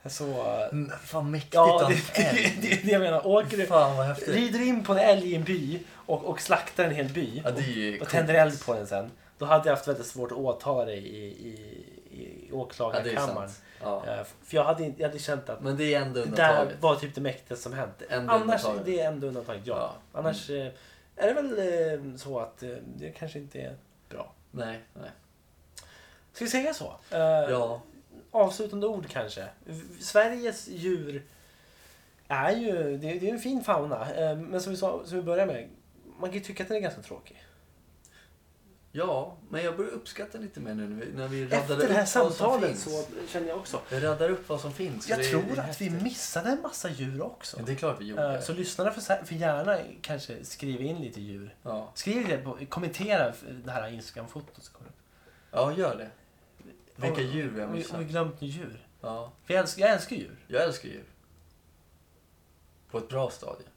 [SPEAKER 2] Så... eh,
[SPEAKER 1] Mm, Fan mäktigt
[SPEAKER 2] Ja,
[SPEAKER 1] av
[SPEAKER 2] det,
[SPEAKER 1] en
[SPEAKER 2] det,
[SPEAKER 1] älg.
[SPEAKER 2] det är det jag menar. Åker du,
[SPEAKER 1] Fan vad häftigt.
[SPEAKER 2] rider du in på en älg i en by och, och slaktar en hel by
[SPEAKER 1] Ja, det är ju
[SPEAKER 2] och, och tänder eld på den sen. Då hade jag haft väldigt svårt att åtala dig i, i, i
[SPEAKER 1] Ja, det är
[SPEAKER 2] åklagarkammaren.
[SPEAKER 1] sant. Ja.
[SPEAKER 2] Eh, För jag hade, inte- jag hade känt att
[SPEAKER 1] Men det är ändå
[SPEAKER 2] det där
[SPEAKER 1] undantaget.
[SPEAKER 2] var typ det mäktigaste som hänt.
[SPEAKER 1] Ändå
[SPEAKER 2] Annars,
[SPEAKER 1] undantaget.
[SPEAKER 2] det är ändå undantaget, ja.
[SPEAKER 1] Ja. Mm.
[SPEAKER 2] Annars eh, är det väl eh, så att eh, det kanske inte är bra.
[SPEAKER 1] Nej, nej.
[SPEAKER 2] Ska vi säga så? Eh,
[SPEAKER 1] Ja,
[SPEAKER 2] avslutande ord kanske. V- Sveriges djur är ju, det, det är en fin fauna. eh, Men som vi sa, som vi började med, man kan ju tycka att den är ganska tråkig.
[SPEAKER 1] ja, men jag börjar uppskatta lite mer nu när vi, när vi raddade
[SPEAKER 2] Efter det här
[SPEAKER 1] upp vad som
[SPEAKER 2] samtalet
[SPEAKER 1] finns.
[SPEAKER 2] så känner jag också.
[SPEAKER 1] Vi raddar upp vad som finns. så
[SPEAKER 2] Jag
[SPEAKER 1] det är-
[SPEAKER 2] tror
[SPEAKER 1] det är
[SPEAKER 2] att vi
[SPEAKER 1] häftigt.
[SPEAKER 2] missade en massa djur också.
[SPEAKER 1] Ja, Det är klart vi gjorde.
[SPEAKER 2] Eh, Så lyssnarna får, sä- får gärna kanske skriva in lite djur.
[SPEAKER 1] Ja.
[SPEAKER 2] Skriv det, på, kommentera det här Instagram-fotot. så kommer det upp.
[SPEAKER 1] ja, gör det. Vilka
[SPEAKER 2] Om-
[SPEAKER 1] djur vi har
[SPEAKER 2] om vi har
[SPEAKER 1] missat.
[SPEAKER 2] glömt några djur.
[SPEAKER 1] Ja.
[SPEAKER 2] För jag älskar, jag älskar djur.
[SPEAKER 1] Jag älskar djur. På ett bra stadie.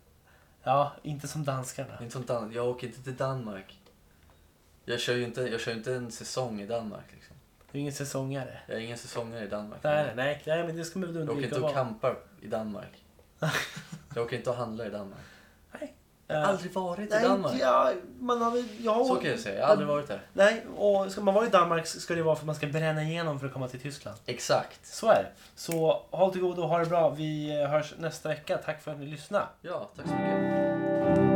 [SPEAKER 2] Ja, inte som danskarna.
[SPEAKER 1] Inte som Dan- jag åker inte till Danmark. Jag kör ju inte, jag kör ju inte en säsong i Danmark. Liksom.
[SPEAKER 2] Du är ingen säsongare.
[SPEAKER 1] Jag är ingen säsongare i Danmark.
[SPEAKER 2] Nej, nej, nej, men det ska man väl
[SPEAKER 1] jag åker inte
[SPEAKER 2] undvika att
[SPEAKER 1] och
[SPEAKER 2] vara.
[SPEAKER 1] campar i Danmark. Jag åker inte och handlar i Danmark.
[SPEAKER 2] Nej.
[SPEAKER 1] Jag har
[SPEAKER 2] Eh,
[SPEAKER 1] aldrig varit i
[SPEAKER 2] nej,
[SPEAKER 1] Danmark.
[SPEAKER 2] inte jag. Man har väl- jag har-
[SPEAKER 1] Så kan jag säga. Jag har aldrig varit där.
[SPEAKER 2] Nej, och ska man vara i Danmark så ska det vara för att man ska bränna igenom för att komma till Tyskland.
[SPEAKER 1] Exakt.
[SPEAKER 2] Så är det. Så eh, håll till godo och ha det bra. Vi hörs nästa vecka. Tack för att ni lyssnade.
[SPEAKER 1] Ja, tack så mycket.